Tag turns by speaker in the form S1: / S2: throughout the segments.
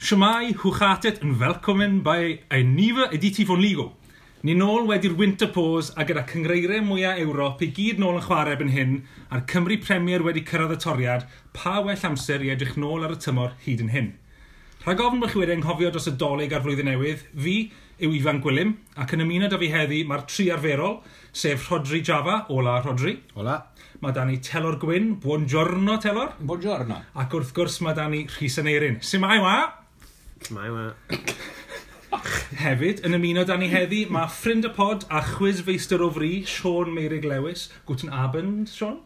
S1: Siamai, hwchatet yn welcomen by a nifer editi von Ligo. Ni nôl wedi'r winter pause a gyda cyngreiriau mwyaf Ewrop i gyd nôl yn chwarae erbyn hyn a'r Cymru Premier wedi cyrraedd y toriad, pa well amser i edrych nôl ar y tymor hyd yn hyn. Rhag ofn bych chi wedi anghofio dros y doleg ar flwyddyn newydd, fi yw Ifan Gwilym, ac yn ymuno â fi heddi mae'r tri arferol, sef Rodri Java, ola Rodri.
S2: Hola.
S1: Mae dan ni Telor Gwyn, buongiorno Telor.
S2: Buongiorno.
S1: Ac wrth gwrs mae dan ni Rhys Aneirin. Simai wa!
S3: Mae yma.
S1: Hefyd, yn ymuno dan ni heddi, mae ffrind y pod a chwiz feistr o fri, Sean Meirig Lewis. Gwtyn Abend, Sean.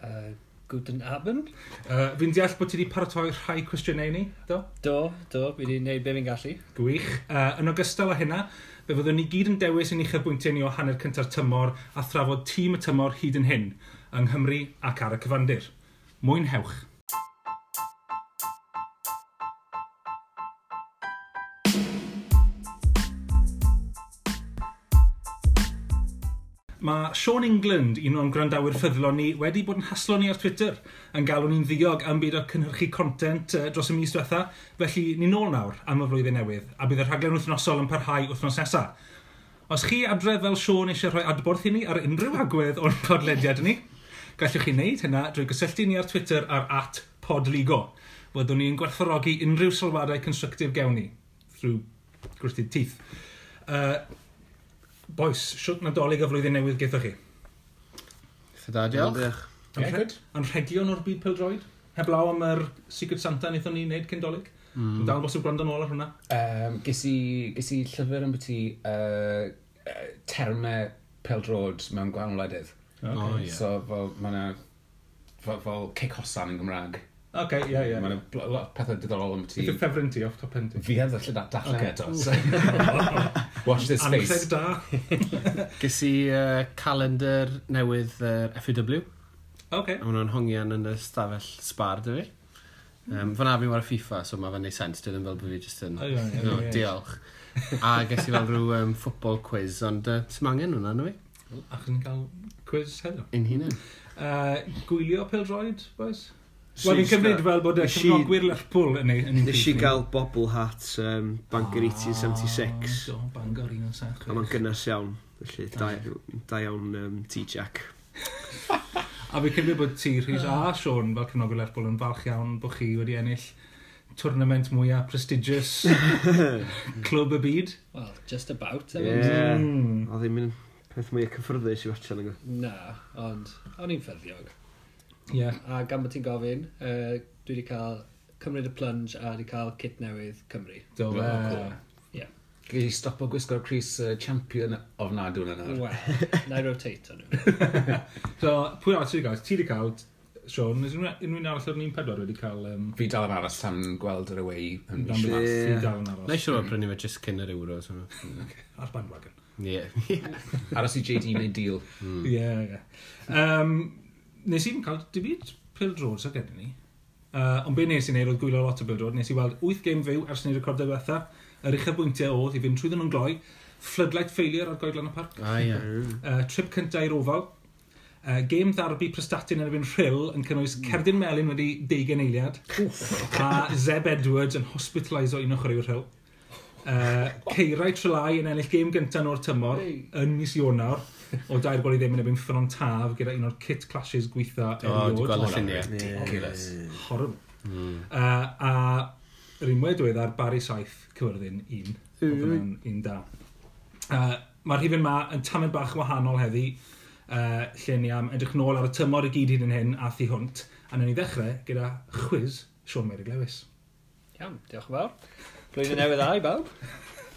S4: Uh, Guten Abend.
S1: Uh, fi'n deall bod ti wedi paratoi rhai cwestiynau i ni, do?
S4: Do, do, fi wedi gwneud be fi'n gallu.
S1: Gwych. Uh, yn ogystal â hynna, fe fyddwn ni gyd yn dewis i ni chybwyntio ni o hanner cyntaf tymor a thrafod tîm y tymor hyd yn hyn, yng Nghymru ac ar y cyfandir. Mwynhewch. Mae Sean England, un o'n gwrandawyr ffyddlon ni, wedi bod yn haslo ni ar Twitter yn galw ni'n ddiog am byd o cynhyrchu content uh, dros y mis diwetha, felly ni'n ôl nawr am y flwyddyn newydd, a bydd y rhaglen wythnosol yn parhau wythnos nesaf. Os chi adref fel Sean eisiau rhoi adborth i ni ar unrhyw agwedd o'n podlediad ni, gallwch chi wneud hynna drwy gysylltu ni ar Twitter ar at podligo. Fyddwn ni'n gwerthfawrogi unrhyw sylwadau constructive gewn ni, through gwrthyd teeth. Uh, boys, siwt nadolig y flwyddyn newydd gaethoch chi.
S2: Fyda, diolch.
S3: Diolch.
S1: Yn rhe- Yn rhegion o'r byd peldroed? Heblaw am yr Secret Santa wnaethon ni wneud cyn dolyg? Mm. Dal bosib gwrando nôl ar hwnna.
S5: Um, ges, i, ges i llyfr yn byti uh, uh, termau peldrod mewn gwahanol wledydd.
S1: Oce,
S2: O, ie.
S5: So fel mae yna fel, fel ceic hosan yn Gymraeg.
S1: okay, ie,
S5: Yeah. Mae
S1: ie.
S5: yna bl- lot o pethau diddorol yn
S1: Beth
S5: byti.
S1: yw ffefryn ti off top pen ti?
S5: Fi heb ddall darllen okay. eto. so- Watch this
S1: Anrheg
S5: space.
S1: da.
S3: Ges i uh, calendar newydd uh, FUW.
S1: Oce.
S3: A maen nhw'n hongian yn y stafell sbar dy fi. Um, fan a fi war FIFA, so mae fe'n neud sens. Dwi ddim fel bod fi jyst yn...
S1: O, ie, ie,
S3: No,
S1: ie.
S3: diolch. A ges i fel rhyw um, football quiz, ond uh, sy'n angen hwnna, na fi?
S1: Ac yn cael quiz heddo.
S3: Un hunan.
S1: Uh, gwylio peldroed, boys?
S2: Nes
S1: Wel,
S2: i
S1: ni'n cymryd
S2: sta-
S1: fel bod y
S3: nes i-
S1: cyfnogwyr Lerpwl yn ei...
S3: Nes
S1: Nes
S3: i
S1: i
S3: gael-
S1: gael...
S3: Wel,
S6: Fel Bobl Hat, um, Bangor 1876.
S1: Do, Bangor 1976.
S6: A
S5: Ah.
S6: mae'n gynnas iawn. Felly, da, da iawn um, T-Jack.
S1: A fi cymryd bod ti, Rhys a Sean, fel cefnogwyr Lerpwl, yn falch iawn bod chi wedi ennill tournament mwyaf prestigious clwb y byd.
S4: Well, just about. I mean,
S6: Ie.
S1: Mm.
S6: A ddim yn peth mwy cyffyrddus i watcha yna.
S4: Na, ond o'n i'n ffyddiog.
S1: Ie.
S4: A gan bod ti'n gofyn, uh, dwi wedi cael cymryd y plunge a wedi cael kit newydd Cymru.
S1: Do fe.
S5: Ges i stopo gwisgo'r Cris uh, champion ofnadw yn yna.
S4: Wel, na i rotate o'n nhw.
S1: So, pwy arall ti wedi cael? Ti wedi cael, Sean, nes unrhyw arall o'r 1-4 wedi cael... Um,
S5: Fi dal yn aros tan gweld yr away yn
S1: Dan
S5: mis.
S1: Blas, i dal yn
S3: Na i
S1: aros.
S3: siŵr o brynu fe jyst cyn yr euro. so-
S1: Ar bandwagon.
S3: Ie.
S5: Aros i JD neu deal.
S1: Ie, ie. Yym, Nes i ddim cael dibyd pildrod sy'n gen i ni. Uh, ond be nes i wneud oedd gwylio lot o bildrod. Nes i weld 8 gêm fyw ers ni record diwetha. Yr uchaf bwyntiau oedd i fynd trwy nhw'n gloi. Floodlight failure ar goedlan y parc.
S3: A ie.
S1: Uh, trip cyntaf i'r ofal. Uh, gêm ddarbu prestatyn yn erbyn rhyl yn cynnwys Cerdyn Melin wedi deugen eiliad. a Zeb Edwards yn hospitaliso un o chwaraewyr rhyl. Uh, Ceirau Trelai yn ennill gêm gyntaf nhw'r tymor yn mis Ionawr o dair gol i ddim yn ebyn ffron taf gyda un o'r kit clashes gweitha
S3: O, dwi'n gweld y lluniau.
S5: Ridiculous.
S1: Horrible. Uh, a yr un wedwedd ar Barry Saith cywyrddin un. Oedd hwnna'n un da. Uh, Mae'r rhifin yma yn tamed bach wahanol heddi, uh, lle ni am edrych nôl ar y tymor i gyd hyn yn hyn a thu hwnt. A wnawn ni ddechrau gyda chwiz Sean Meirig Lewis.
S4: Iawn, diolch yn fawr. Blwyddyn newydd dda i bawb.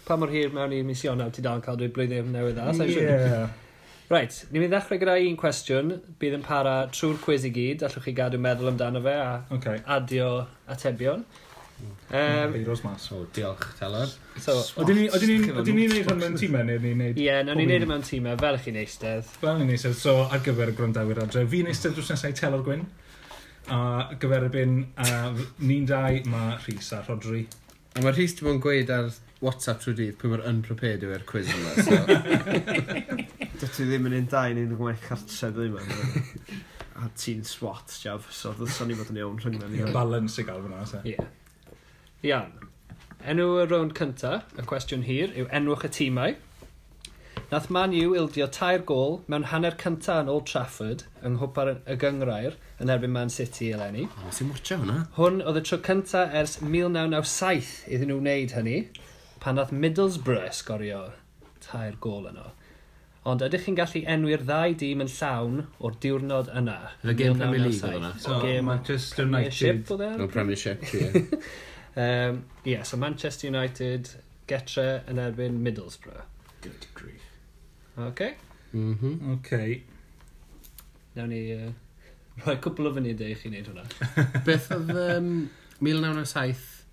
S4: Pa mor hir mewn i mis Ionawr ti dal yn cael dweud blwyddyn newydd dda, sa'n siŵr. Reit, ni'n mynd i ddechrau gyda un cwestiwn. Bydd yn para trwy'r cwiz i gyd, allwch chi gadw meddwl amdano fe a
S1: OK.
S4: adio atebion. Um,
S1: Beiros mas.
S3: O, diolch, telor.
S4: so,
S1: Oedden ni'n gwneud hwn mewn tîmau neu ni'n
S4: ie,
S1: gwneud...
S4: yeah, nawn ni wneud yma'n tîmau, e, fel chi'n eistedd.
S1: Wel, ni'n eistedd, so ar gyfer y gwrandawyr adre, fi'n eistedd drws nesau telor gwyn, a ar gyfer y bin, a f- ni'n dau, mae Rhys a Rodri.
S3: A mae'r rhys dim ond gweud ar WhatsApp trwy dydd pwy mae'r unprepared yw i'r quiz yma. So.
S6: Dydw i ddim yn un da i ni'n gwaith cartref ddim yma. A ti'n swat, Jaf, so ddylson ni fod yn iawn rhyngna ni.
S1: Balance i gael fyna, se.
S4: Ie. Iawn. Enw y rownd cynta, y cwestiwn hir, yw enwch y tîmau. Nath Man U ildio tair gol mewn hanner cynta yn Old Trafford yng nghwpa'r y gyngrair yn erbyn Man City eleni.
S3: O, sy'n mwtio hwnna?
S4: Hwn oedd y tro cynta ers 1997 iddyn nhw wneud hynny, pan nath Middlesbrough sgorio tair gol yno. Ond ydych chi'n gallu enwi'r ddau dîm yn llawn o'r diwrnod yna?
S3: Oedd y gêm Premier League
S4: 1997?
S3: oedd hwnna?
S1: So,
S4: Gêm
S1: Manchester United.
S4: Premiership oedd e?
S3: No Premiership, ie.
S4: Um, yeah, so Manchester United, Getre yn erbyn Middlesbrough.
S1: Good grief.
S4: OK,
S3: Mhm.
S1: Okay.
S4: nawn ni uh, rhoi cwpl o fynydd i chi wneud hwnna.
S3: Beth oedd um, 1997,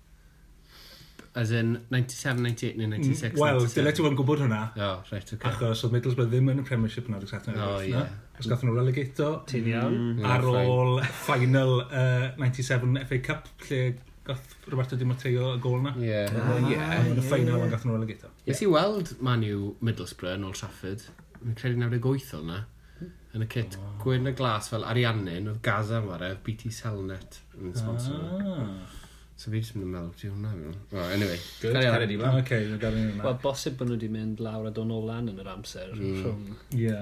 S3: as in 97, 98 neu 96?
S1: Mm, Wel,
S3: 97?
S1: dyle ti fod yn gwybod hwnna.
S3: O, reit, oce.
S1: Achos oedd Middlesbrough ddim yn y Premiership yn adeg Saturn.
S3: O, ie.
S1: Os gath nhw relegato mm,
S4: Ti'n iawn?
S1: ar
S3: Ie, fine.
S1: ôl final uh, 97 FA Cup lle gath Roberto Di Matteo y gol na.
S3: Ie.
S1: Ie, yn y final ond gath nhw relegato.
S3: Nes i weld Man U Middlesbrough yn Old Trafford, yn credu 98 oedd na, yn y kit gwyn y glas fel Ariannin, oedd Gaza yn ware, BT Cellnet yn sponsor. nhw.
S1: Ah.
S3: So fi jyst yn meddwl, di hwnna fi hwnna. Well, anyway.
S5: Good,
S3: carry on.
S5: cared i
S1: Ah,
S5: blan.
S1: okay, dwi'n gael un
S4: Wel,
S1: yna.
S4: bosib bod nhw wedi mynd lawr a don o lan yn yr amser
S3: Hmm.
S4: mm. rhwng
S1: Ie,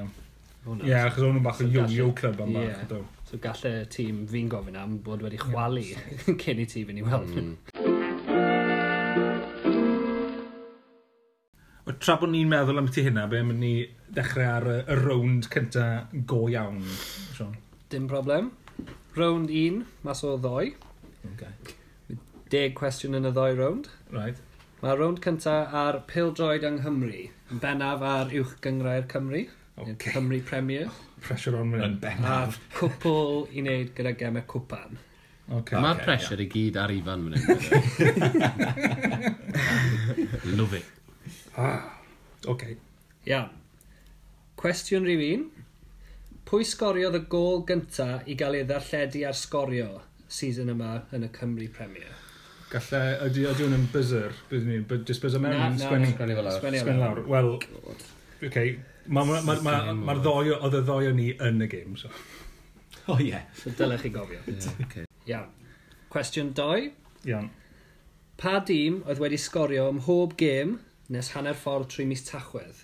S4: hwnna.
S1: Ie, achos o'n nhw'n bach o
S4: So
S1: yo-yo
S4: gallu-
S1: club am
S4: Ie.
S1: bach. ydw.
S4: So gallai tîm fi'n gofyn am bod wedi chwalu cyn i ti fynd i weld. Mm.
S1: O, Tra bod ni'n meddwl am ti hynna, be mynd ni dechrau ar y- y rownd cynta go iawn, Sean.
S4: Dim problem. Rownd 1, mas o ddoi.
S1: Okay.
S4: Deg cwestiwn yn y ddoi rownd.
S1: Right.
S4: Mae'r rownd cynta ar pildroed yng Nghymru. Yn bennaf ar uwch gyngrau'r Cymru. neu
S1: Okay.
S4: Cymru Premier.
S1: Pressure on mynd.
S4: A cwpl i wneud gyda gemau cwpan.
S1: Okay.
S3: Mae'r pressure i gyd ar Ifan fan hyn. Love it.
S1: Okay.
S4: Iawn. Cwestiwn rhif un. Pwy sgoriodd y gol gynta i gael ei ddarlledu ar sgorio season yma yn y Cymru Premier?
S1: Gallai, ydy ydy hwn yn buzzer, bydd ni, bydd just buzzer mewn,
S4: Na, na,
S1: sgwennu,
S4: na.
S3: Sgwennu fel arall.
S4: Sgwennu
S1: sgwennu lawr. Wel, okay, mae'r ma, ma, ma,
S3: Sgwennu
S1: ma ddoi, o- oedd y ddoi o ni yn y game, so.
S5: O ie.
S4: So dylech chi gofio. Iawn. Cwestiwn 2.
S1: Iawn.
S4: Pa dîm oedd wedi sgorio ym mhob gêm nes hanner ffordd trwy mis tachwedd?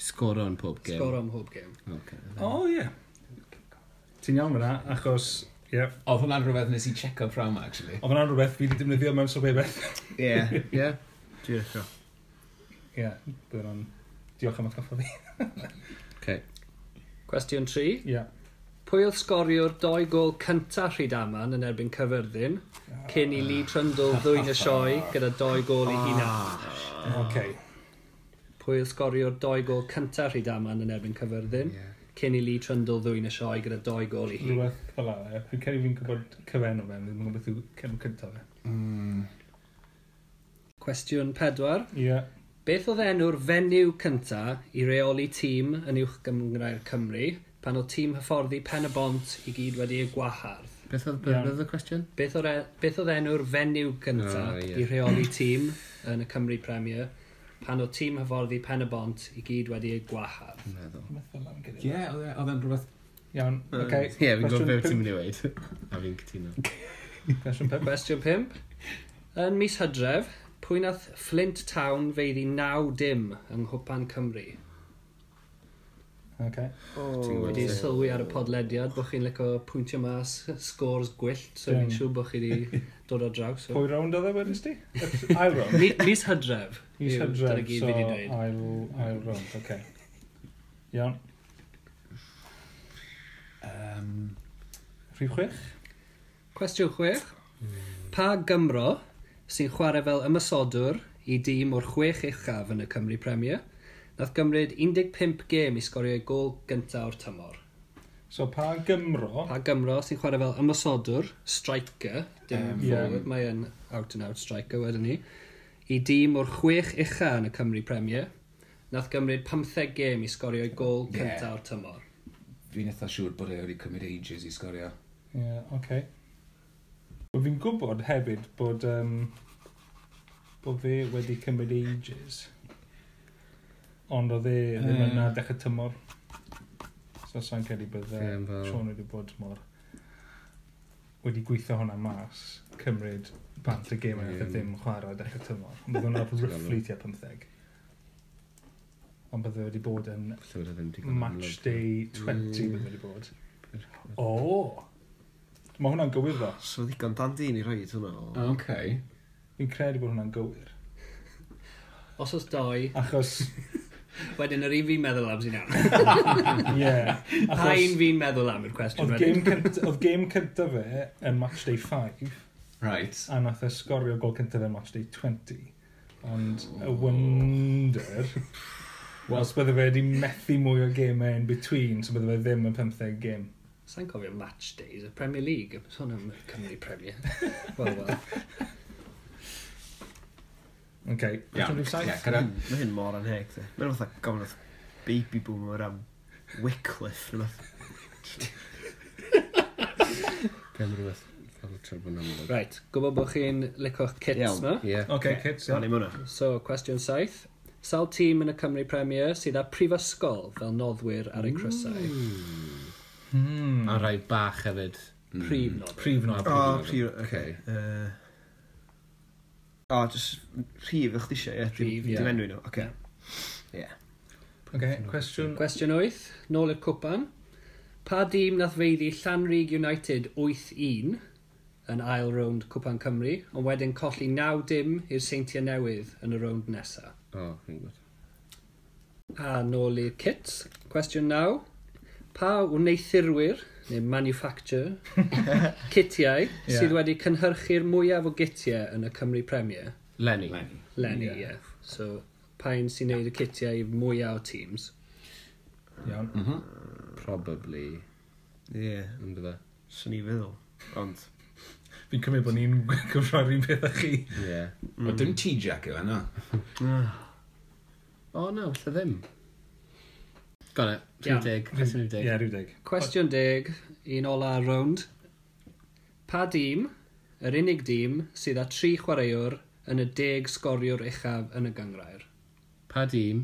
S3: Sgoro yn pob game.
S4: Sgorio ym mhob gêm.
S3: Okay.
S1: O, ie. Ti'n iawn fyna, achos, ie,
S5: Oedd hwnna'n rhywbeth nes i check up rhawn, actually.
S1: oedd yna'n rhywbeth fi wedi defnyddio mewn sylwebeth.
S6: Ie.
S3: Ie. Diolch.
S1: Ie, bydd yna'n, diolch am y coffa fi.
S3: Okay.
S4: Cwestiwn 3.
S1: Ie.
S4: Pwy oedd sgorio'r doi gol cynta rhyd aman yn erbyn cyfyrddin cyn i Lee Trundle ddwyn y sioe gyda doi gol ei hunan?
S1: Okay.
S4: Pwy oedd sgorio'r doi gol cynta rhyd aman yn erbyn cyfyrddin cyn i Lee Trundle ddwyn y sioe gyda doi gol ei hunan?
S1: Rhywbeth fel yna, ie. Fi'n ceri fi'n gwybod cyfen o fe, ddim yn gwybod yw cefn cyntaf e. fe.
S4: Cwestiwn 4.
S1: Ie.
S4: Beth oedd enw'r fenyw cynta i reoli tîm yn uwch gymrau'r Cymru pan oedd tîm hyfforddi Pen y Bont i gyd wedi ei gwahardd?
S3: Beth oedd
S1: Iawn.
S3: beth oedd y cwestiwn?
S4: Beth oedd, e, beth oedd enw'r fenyw cynta
S3: O, ie.
S4: i reoli tîm yn y Cymru Premier pan oedd tîm hyfforddi Pen y Bont i gyd wedi ei gwahardd?
S3: Meddwl.
S1: Rhywbeth fel yna'n gyda.
S5: Ie, oedd e- oedd e'n rhywbeth...
S1: Iawn, okay.
S3: Ie, fi'n
S1: Cwestiwn
S3: gwybod beth
S1: pump-
S3: ti'n mynd i weid. A fi'n cytuno.
S1: Cwestiwn pep.
S4: Cwestiwn 5. Yn mis Hydref, pwy nath Flint Town feiddi 9 dim yng Nghwpan Cymru?
S1: Okay.
S3: Ti'n
S4: Wedi
S3: gwybod.
S4: sylwi ar y podlediad bod chi'n licio pwyntio mas scores gwyllt, so fi'n
S1: Ie.
S4: siŵr bod chi wedi dod o draws. So.
S1: Pwy rownd oedd e wedyn sti? Ail rownd?
S4: Mi- Mis Hydref.
S1: Mis
S4: yw dyna
S1: hydref,
S4: gyd
S1: so
S4: fi 'di
S1: ail,
S4: dweud.
S1: ail rownd, oce. Okay. Iawn,
S5: Um,
S1: rhif chwech?
S4: Cwestiwn chwech.
S1: Hmm.
S4: Pa Gymro sy'n chwarae fel ymysodwr i dîm o'r chwech uchaf yn y Cymru Premier, nath gymryd 15 gêm i sgorio ei gol gyntaf o'r tymor.
S1: So pa Gymro?
S4: Pa Gymro sy'n chwarae fel ymysodwr, striker, dim um,
S1: Yym,
S4: forward, yeah. mae yn out and out striker wedyn ni, i dîm o'r chwech ucha yn y Cymru Premier, nath gymryd 15 gêm i sgorio ei gol
S5: Ie.
S4: gyntaf o'r tymor.
S5: fi'n eitha siŵr bod e wedi cymryd ages i sgorio.
S1: Ie, yeah, oce. Okay. Wel, Fi'n gwybod hefyd bod, um, bod fe wedi cymryd ages. Ond oedd e ddim
S5: Ie.
S1: yna dechrau tymor. So sa'n credu bydd
S3: Ie,
S1: um,
S3: fel-
S1: Sean wedi bod mor wedi gweithio hwnna mas, cymryd pan y gêm yna ddim chwarae dechrau tymor. Ond bydd hwnna roughly tua 15. Ond bydde wedi bod yn
S3: Lle bod e ddim digon
S1: match day 20 bydde wedi bod.
S3: amlwg.
S1: O! Mae hwnna'n gywir ddo.
S6: So ddigon dan dyn i roed hwnna. o.
S5: Ok.
S1: Fi'n credu bod hwnna'n gywir.
S4: Os oes doi,
S1: Achos,
S4: wedyn yr un fi'n meddwl am sy'n iawn.
S1: ie.
S4: Pa un
S1: Achos,
S4: fi'n meddwl am yw'r cwestiwn
S1: oedd gêm cynt- oedd gêm cyntaf fe yn match day 5.
S5: Right.
S1: a nath e sgorio gol cyntaf yn match day 20. Ond y wonder, os bydde fe wedi methu mwy o gemau in between, so bydde fe ddim yn 15 gêm.
S4: Sa'n cofio match days y Premier League. Mae'n sôn am y Cymru Premier. Wel, wel.
S1: OK,
S5: Iawn.
S1: cwestiwn rhif 7.
S5: Ie, gyda.
S6: Mae hyn mor anheg, te. Mae'n fatha gofnod baby boomer am Wycliffe. neu rwbeth.
S3: Pen rhywbeth fel trefyn amlwg.
S4: Right, gwybod bod chi'n licio'ch kits
S6: Iawn.
S4: ma.
S3: Ie.
S1: OK, kids,
S6: So,
S1: iawn.
S6: ni'n mwna.
S4: So, cwestiwn saith. Sawl tîm yn y Cymru Premier sydd â prifysgol fel noddwyr ar eu
S3: Mm.
S4: crysau?
S1: Hmm,
S3: A rai bach hefyd. Mm.
S4: Prif noddwyr.
S1: Prif nod.
S6: O, Oh, prif...
S3: Oce.
S6: Okay. Uh, o, just rhif ych ddysio, ie?
S4: Rhif,
S6: Dim-
S4: ie.
S6: Dim enw nhw, oce.
S1: OK, cwestiwn...
S4: Cwestiwn 8, nôl i'r cwpan. Pa dîm nath feiddi Llanrug United 8-1 yn ail rownd Cwpan Cymru, ond wedyn colli 9 dim i'r seintiau newydd yn y rownd nesaf?
S3: O, fi'n gwybod.
S4: A nôl i'r kits. Cwestiwn naw. Pa wneithurwyr, neu manufacture, citiau
S1: Ie.
S4: sydd wedi cynhyrchu'r mwyaf o gitiau yn y Cymru Premier?
S3: Lenny.
S4: Lenny, ie. So, pa un sy'n neud y citiau i mwyaf o teams?
S1: Iawn.
S3: Probably.
S6: Ie,
S3: Yn bydda.
S6: swn i feddwl. Ond,
S1: Fi'n cymryd bod ni'n cyfroi'r un peth â chi.
S3: Ie.
S5: Mm.
S2: Wel, dim T-Jack
S5: e,
S2: yw yna.
S3: O, na, wrth ddim. Gone it.
S4: Iawn.
S3: Rhyw deg. Rhyw
S1: Ie,
S3: deg.
S1: rhyw deg.
S4: Cwestiwn deg, un ola ar rownd. Pa dîm, yr unig dîm, sydd â tri chwaraewr yn y deg sgoriwr uchaf yn y gyngrair?
S3: Pa dîm?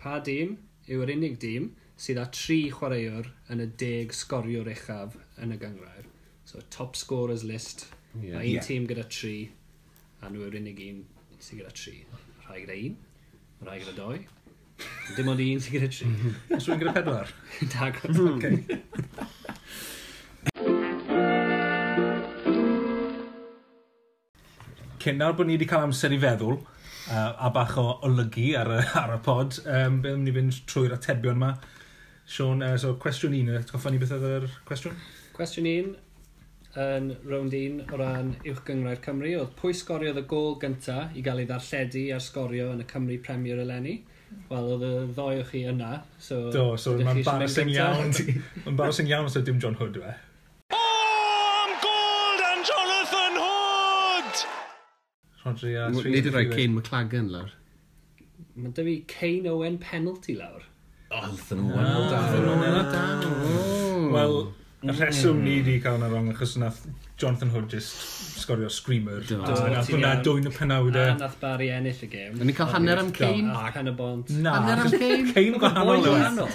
S4: Pa dîm yw yr unig dîm sydd â tri chwaraewr yn y deg sgoriwr uchaf yn y gyngrair. So, top scorers list.
S3: Ie.
S4: Yeah. Mae un yeah. tîm gyda tri, a nhw yw'r unig un sydd gyda tri. Rhai gyda un, rhai gyda doi. Dim ond un sydd gyda tri.
S1: Os rwy'n gyda pedwar. Hmm.
S4: Dag.
S1: OK. Cyn nawr bod ni wedi cael amser i feddwl uh, a bach o olygu ar y, ar y pod, um, be ni fynd trwy'r atebion yma. Sean, uh, so cwestiwn un, atgoffa ni beth oedd yr cwestiwn?
S4: Cwestiwn un, yn rownd un o ran uwch gyngrair Cymru, oedd pwy sgoriodd y gol gynta i gael ei ddarlledu ar sgorio yn y Cymru Premier eleni? Wel, oedd y ddoi o chi yna, so...
S1: Do, so
S4: ydych
S1: mae'n
S4: chi isio mynd
S1: barasyn
S4: gynta?
S1: iawn. ti- Mae'n barasyn iawn os oedd dim John Hood yw e. Oh, I'm gold and Jonathan Hood! Rodri a...
S3: Nid i roi Cain McLagan lawr.
S4: Mae dy fi Cain Owen penalty lawr.
S2: Oedd yn
S1: Ah,
S2: wael da.
S1: Wel, y rheswm ni wedi cael yna wrong achos nath Jonathan Hood just sgorio screamer.
S3: Do.
S1: A
S4: Do,
S1: nath
S4: ti'n
S1: hwnna
S4: iawn.
S1: dwyn y
S4: A
S1: penawdau.
S4: nath Barry ennill y gêm.
S3: Yn ni cael hanner am Cain?
S4: A pen y bont.
S1: Na,
S3: Hanner am
S1: achos
S3: Cain?
S1: Cain gwahanol yw e.
S4: Wahanol.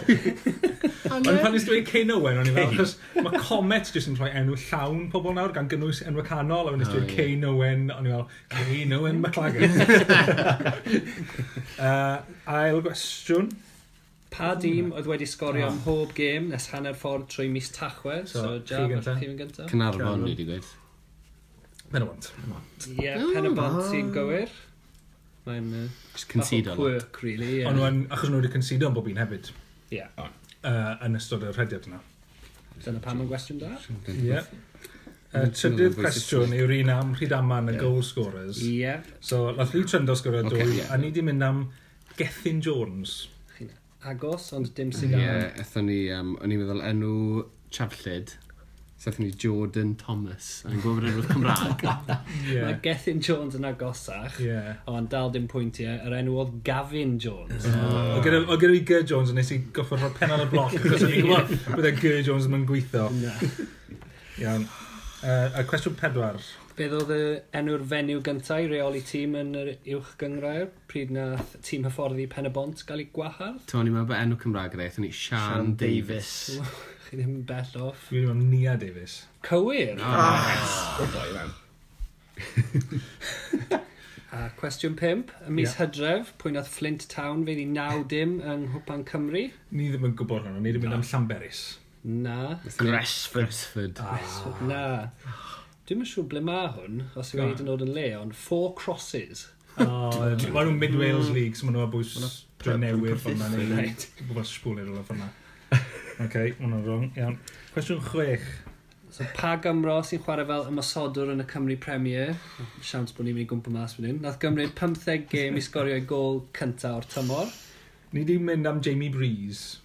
S1: Ond pan nes dweud Cain Owen, o'n i fel, achos mae Comet jyst yn rhoi enw llawn pobl nawr gan gynnwys enw canol, a pan nes dweud
S3: ie.
S1: Cain Owen, o'n i fel, Cain Owen McLagan. Uh, Ail gwestiwn.
S4: Pa dîm oedd wedi sgorio ym mhob gêm nes hanner ffordd trwy mis Tachwedd?
S1: Ah. So,
S4: So,
S1: chi
S4: Jab,
S1: gynta.
S4: chi fynd gyntaf?
S3: Cynarfon, ni wedi gweud.
S1: Menywant.
S4: Ie, pen y bont sy'n gywir.
S3: Ah.
S4: Mae'n uh, bach
S3: Just
S4: o
S3: concede o lot.
S4: quirk, really. ie.
S1: Ond wan, achos nhw wedi consido am bob un hefyd,
S4: Ie,
S3: Oh,
S1: uh, yn ystod yr rhediad yna.
S4: dyna pam yn gwestiwn da.
S1: Ie. Yy, Trydydd cwestiwn yw'r un am rhyd aman y goal scorers.
S4: Ie,
S1: So, lath ni Tryndo sgorio
S3: Ocê,
S1: dwy,
S3: ie.
S1: a ni di mynd am Gethin Jones.
S4: chi'n agos, ond dim sy'n
S3: Ie,
S4: gael.
S3: eithon ni, um, o'n i'n meddwl enw Chafllid, seth ni Jordan Thomas, a'n gwybod enw'r Cymraeg.
S1: Ie.
S4: Mae Gethin Jones yn agosach,
S1: Ie.
S4: ond dal dim pwyntiau. Yr enw oedd Gavin Jones.
S1: O gyda o gyda fi Ger Jones, a nes i goffod rhoi pen ar y bloc, achos o'n i'n gwybod bydde Ger Jones yn gweithio.
S4: Na.
S1: Iawn. Yy, A cwestiwn pedwar.
S4: Beth oedd y enw'r fenyw gyntaf i reoli tîm yn yr uwch gyngrair? Pryd nath tîm hyfforddi Pen y Bont gael ei gwahardd?
S3: Tony, mae'n bod enw Cymraeg yna, eithon ni Sian Davis.
S4: Chi ddim yn bell off.
S1: Dwi wedi am Nia Davis.
S4: Cywir! Ah.
S3: O, nice.
S2: Oedd o, i fewn.
S4: A cwestiwn 5, ym mis Hydref, pwy nath Flint Town feid i naw dim yng Nghwpan Cymru?
S1: Ni ddim yn gwybod hwnnw, ni ddim yn mynd am Llanberis.
S4: Na.
S3: Gresford.
S4: Ah. Na. Dwi'n yn siŵr ble mae hwn, os yw wedi dod yn le, ond Four Crosses.
S1: Mae nhw'n Mid Wales League, so mae nhw a bwys drwy newydd fan na neu
S4: Right.
S1: gwybod sbwlir o'r fan na. Ok, ma' hwnna'n wrong. Iawn. Cwestiwn chwech.
S4: So pa Gymro sy'n chwarae fel ymasodwr yn y Cymru Premier? Siawns bod ni'n mynd i gwmpa mas fan hyn. Nath gymryd 15 gêm i sgorio ei gol cyntaf o'r tymor.
S1: Ni di mynd am Jamie Breeze.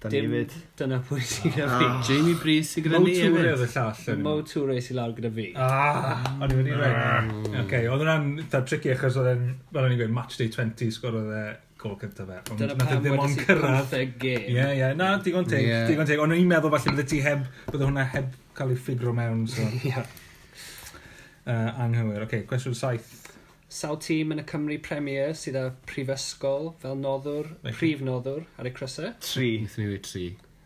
S6: Da ni
S4: Dim
S6: fyd.
S4: dyna pwy sy'n gyda
S3: Jamie Breeze sy'n gyda
S1: Mo
S3: ni
S1: Tŵr oedd
S3: hefyd.
S1: y llall
S4: fi.
S1: yn.
S4: Mo Tŵr reis i lawr gyda fi.
S1: Ah, o'n i wedi rhaid. Ok, oedd hwnna'n eitha tricky achos oedd e'n, fel o'n i'n gweud, match day 20 sgorodd e gol cyntaf e. Ond
S4: Dyna
S1: nath e
S4: pam
S1: ddim
S4: wedi
S1: ond
S4: sy'n
S1: cyrraedd.
S4: 15
S1: Ie, yeah,
S4: gêm.
S1: ie, yeah. na, digon teg,
S3: Ie.
S1: yeah. digon teg. Ond o'n i'n meddwl falle bydde ti heb, bydde hwnna heb cael ei ffigro mewn, so...
S4: Ie.
S1: Uh, anghywir, oce, okay, cwestiwn saith.
S4: Sawl tîm yn y Cymru Premier sydd â prifysgol fel noddwr,
S1: Reit.
S4: prif noddwr ar eu crysau?
S6: Tri.
S3: Nethon ni wedi tri.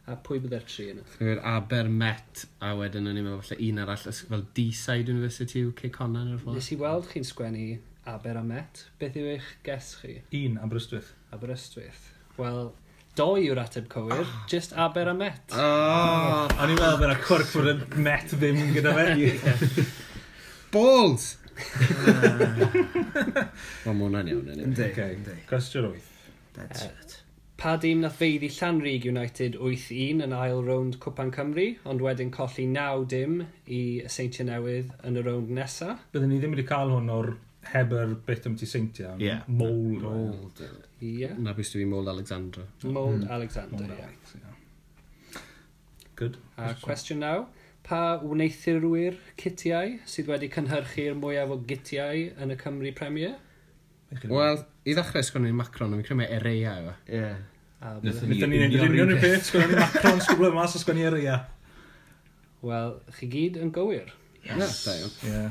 S4: A pwy byddai'r tri yna?
S3: Nethon ni wedi Aber Met, a wedyn o'n i'n meddwl falle un arall ys- fel D-side University UK Conan o'r ffordd.
S4: Nes i weld chi'n sgwennu Aber a Met. Beth yw eich ges chi?
S1: Un, Aberystwyth.
S4: Aberystwyth. Wel, doi yw'r ateb cywir,
S1: Ah.
S4: just Aber a Met.
S3: Oh,
S1: O'n i'n meddwl bod y cwrc bod y met ddim gyda fe.
S3: balls! Wel, mae hwnna'n iawn, yn
S6: Yndi,
S1: Oce,
S6: yndi.
S1: cwestiwn wyth.
S6: Dead set.
S4: Pa dîm nath feiddi Llanrug United 8-1 yn ail rownd Cwpan Cymru, ond wedyn colli 9 dim i y Seintiau Newydd yn y rownd nesaf?
S1: Byddwn ni ddim wedi cael hwn o'r heber bit am ti seintiau.
S3: Ie.
S1: Mold.
S3: Mold.
S4: Ie.
S3: Na bwys dwi'n mold Alexandra.
S1: Hmm.
S4: Mold Alexander,
S1: Mold
S4: ie.
S1: Alex, ie. Good.
S4: A cwestiwn naw, pa wneithurwyr citiau sydd wedi cynhyrchu'r mwyaf o gitiau yn y Cymru Premier?
S3: Wel, i ddechrau sgwrn ni'n macron, ond fi'n credu mae Ereia yw. e.
S6: Ie.
S4: A bydd-
S2: Nethon
S1: Nid ni'n edrych union i'r peth, sgwrn ni'n macron, sgwrn ni'n mas, sgwrn ni'n eria.
S4: Wel, chi gyd yn gywir.
S3: Yes. Da iawn.
S1: Ie.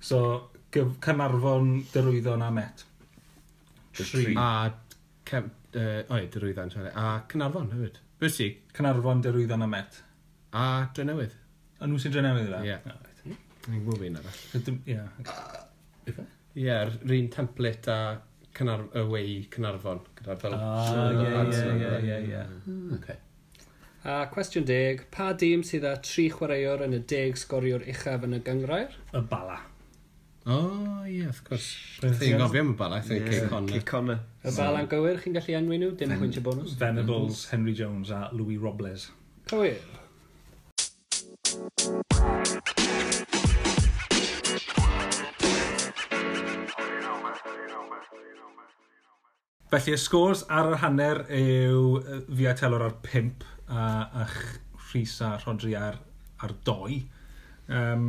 S1: So, gyf- Carnarfon, Derwyddon a Met. Tri.
S3: A, cef, uh, oi, dyrwyddan, sorry. A Cynarfon hefyd. Bwys ti?
S1: Carnarfon, Derwyddon a Met.
S3: A Drenewydd.
S1: A nhw sy'n drenewydd fe?
S3: Ie. Hmm. Ni'n gwybod fi'n arall.
S1: So, dim- Ie.
S3: Ie, yr un template a Cynar, away Cynarfon. Gyda fel...
S1: Ah, ie, ie, ie, ie, ie.
S3: Okay.
S4: A cwestiwn deg, pa dîm sydd â tri chwaraewr yn y deg sgoriwr uchaf yn y gyngrair?
S1: Y bala.
S3: O, ie, wrth gwrs. Dwi'n gofio am y bala, I think, Kay Connor.
S6: Cic Connor.
S4: Y bal yn gywir, chi'n gallu enwi nhw, dim pwynt y bonus.
S1: Venables, Henry Jones a Louis Robles.
S4: Cywir.
S1: Felly y scores ar yr hanner yw yy, fi a Telor ar 5 a, a Rhys a Rodri ar, ar 2. Um,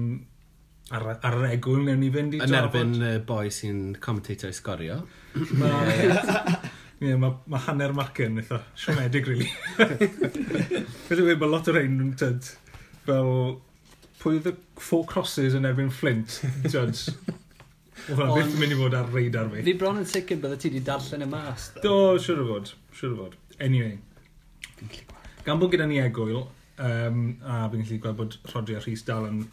S1: ar, ar yr egwl newn ni fynd i
S3: Yn erbyn y boi sy'n commentator i sgorio.
S1: Mae yeah, ma, ma hanner marcyn yn eitha siomedig, really. Fydde wedi bod lot o'r ein yn tyd. Fel, pwy oedd y four crosses yn erbyn Flint, tyd? Wel, beth yn mynd i fod ar radar fi.
S4: Fi bron yn sicr bydde ti wedi darllen y mas. ddo.
S1: Do, siwr o fod, siwr o fod. Anyway, gan bod gyda ni egwyl, um, a fi'n gallu gweld bod Rodri a Rhys dal yn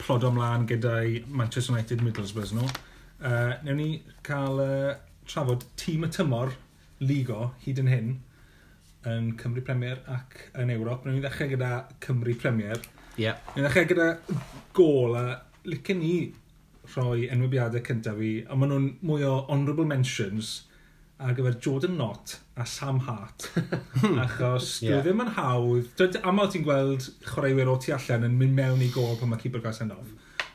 S1: plodo ymlaen gyda'i Manchester United Middlesbrough nhw, uh, newn ni cael uh, trafod tîm y tymor ligo hyd yn hyn yn Cymru Premier ac yn Ewrop. Newn ni ddechrau gyda Cymru Premier.
S3: Ie.
S1: Yn ddechrau gyda gol a licen ni rhoi enwebiadau cyntaf fi, a maen nhw'n mwy o honourable mentions ar gyfer Jordan Knott a Sam Hart. Achos yeah. dwi
S3: Ie.
S1: ddim yn hawdd. Dwi aml ti'n gweld chwaraewyr o tu allan yn mynd mewn i gol pan mae Cibor gael send off.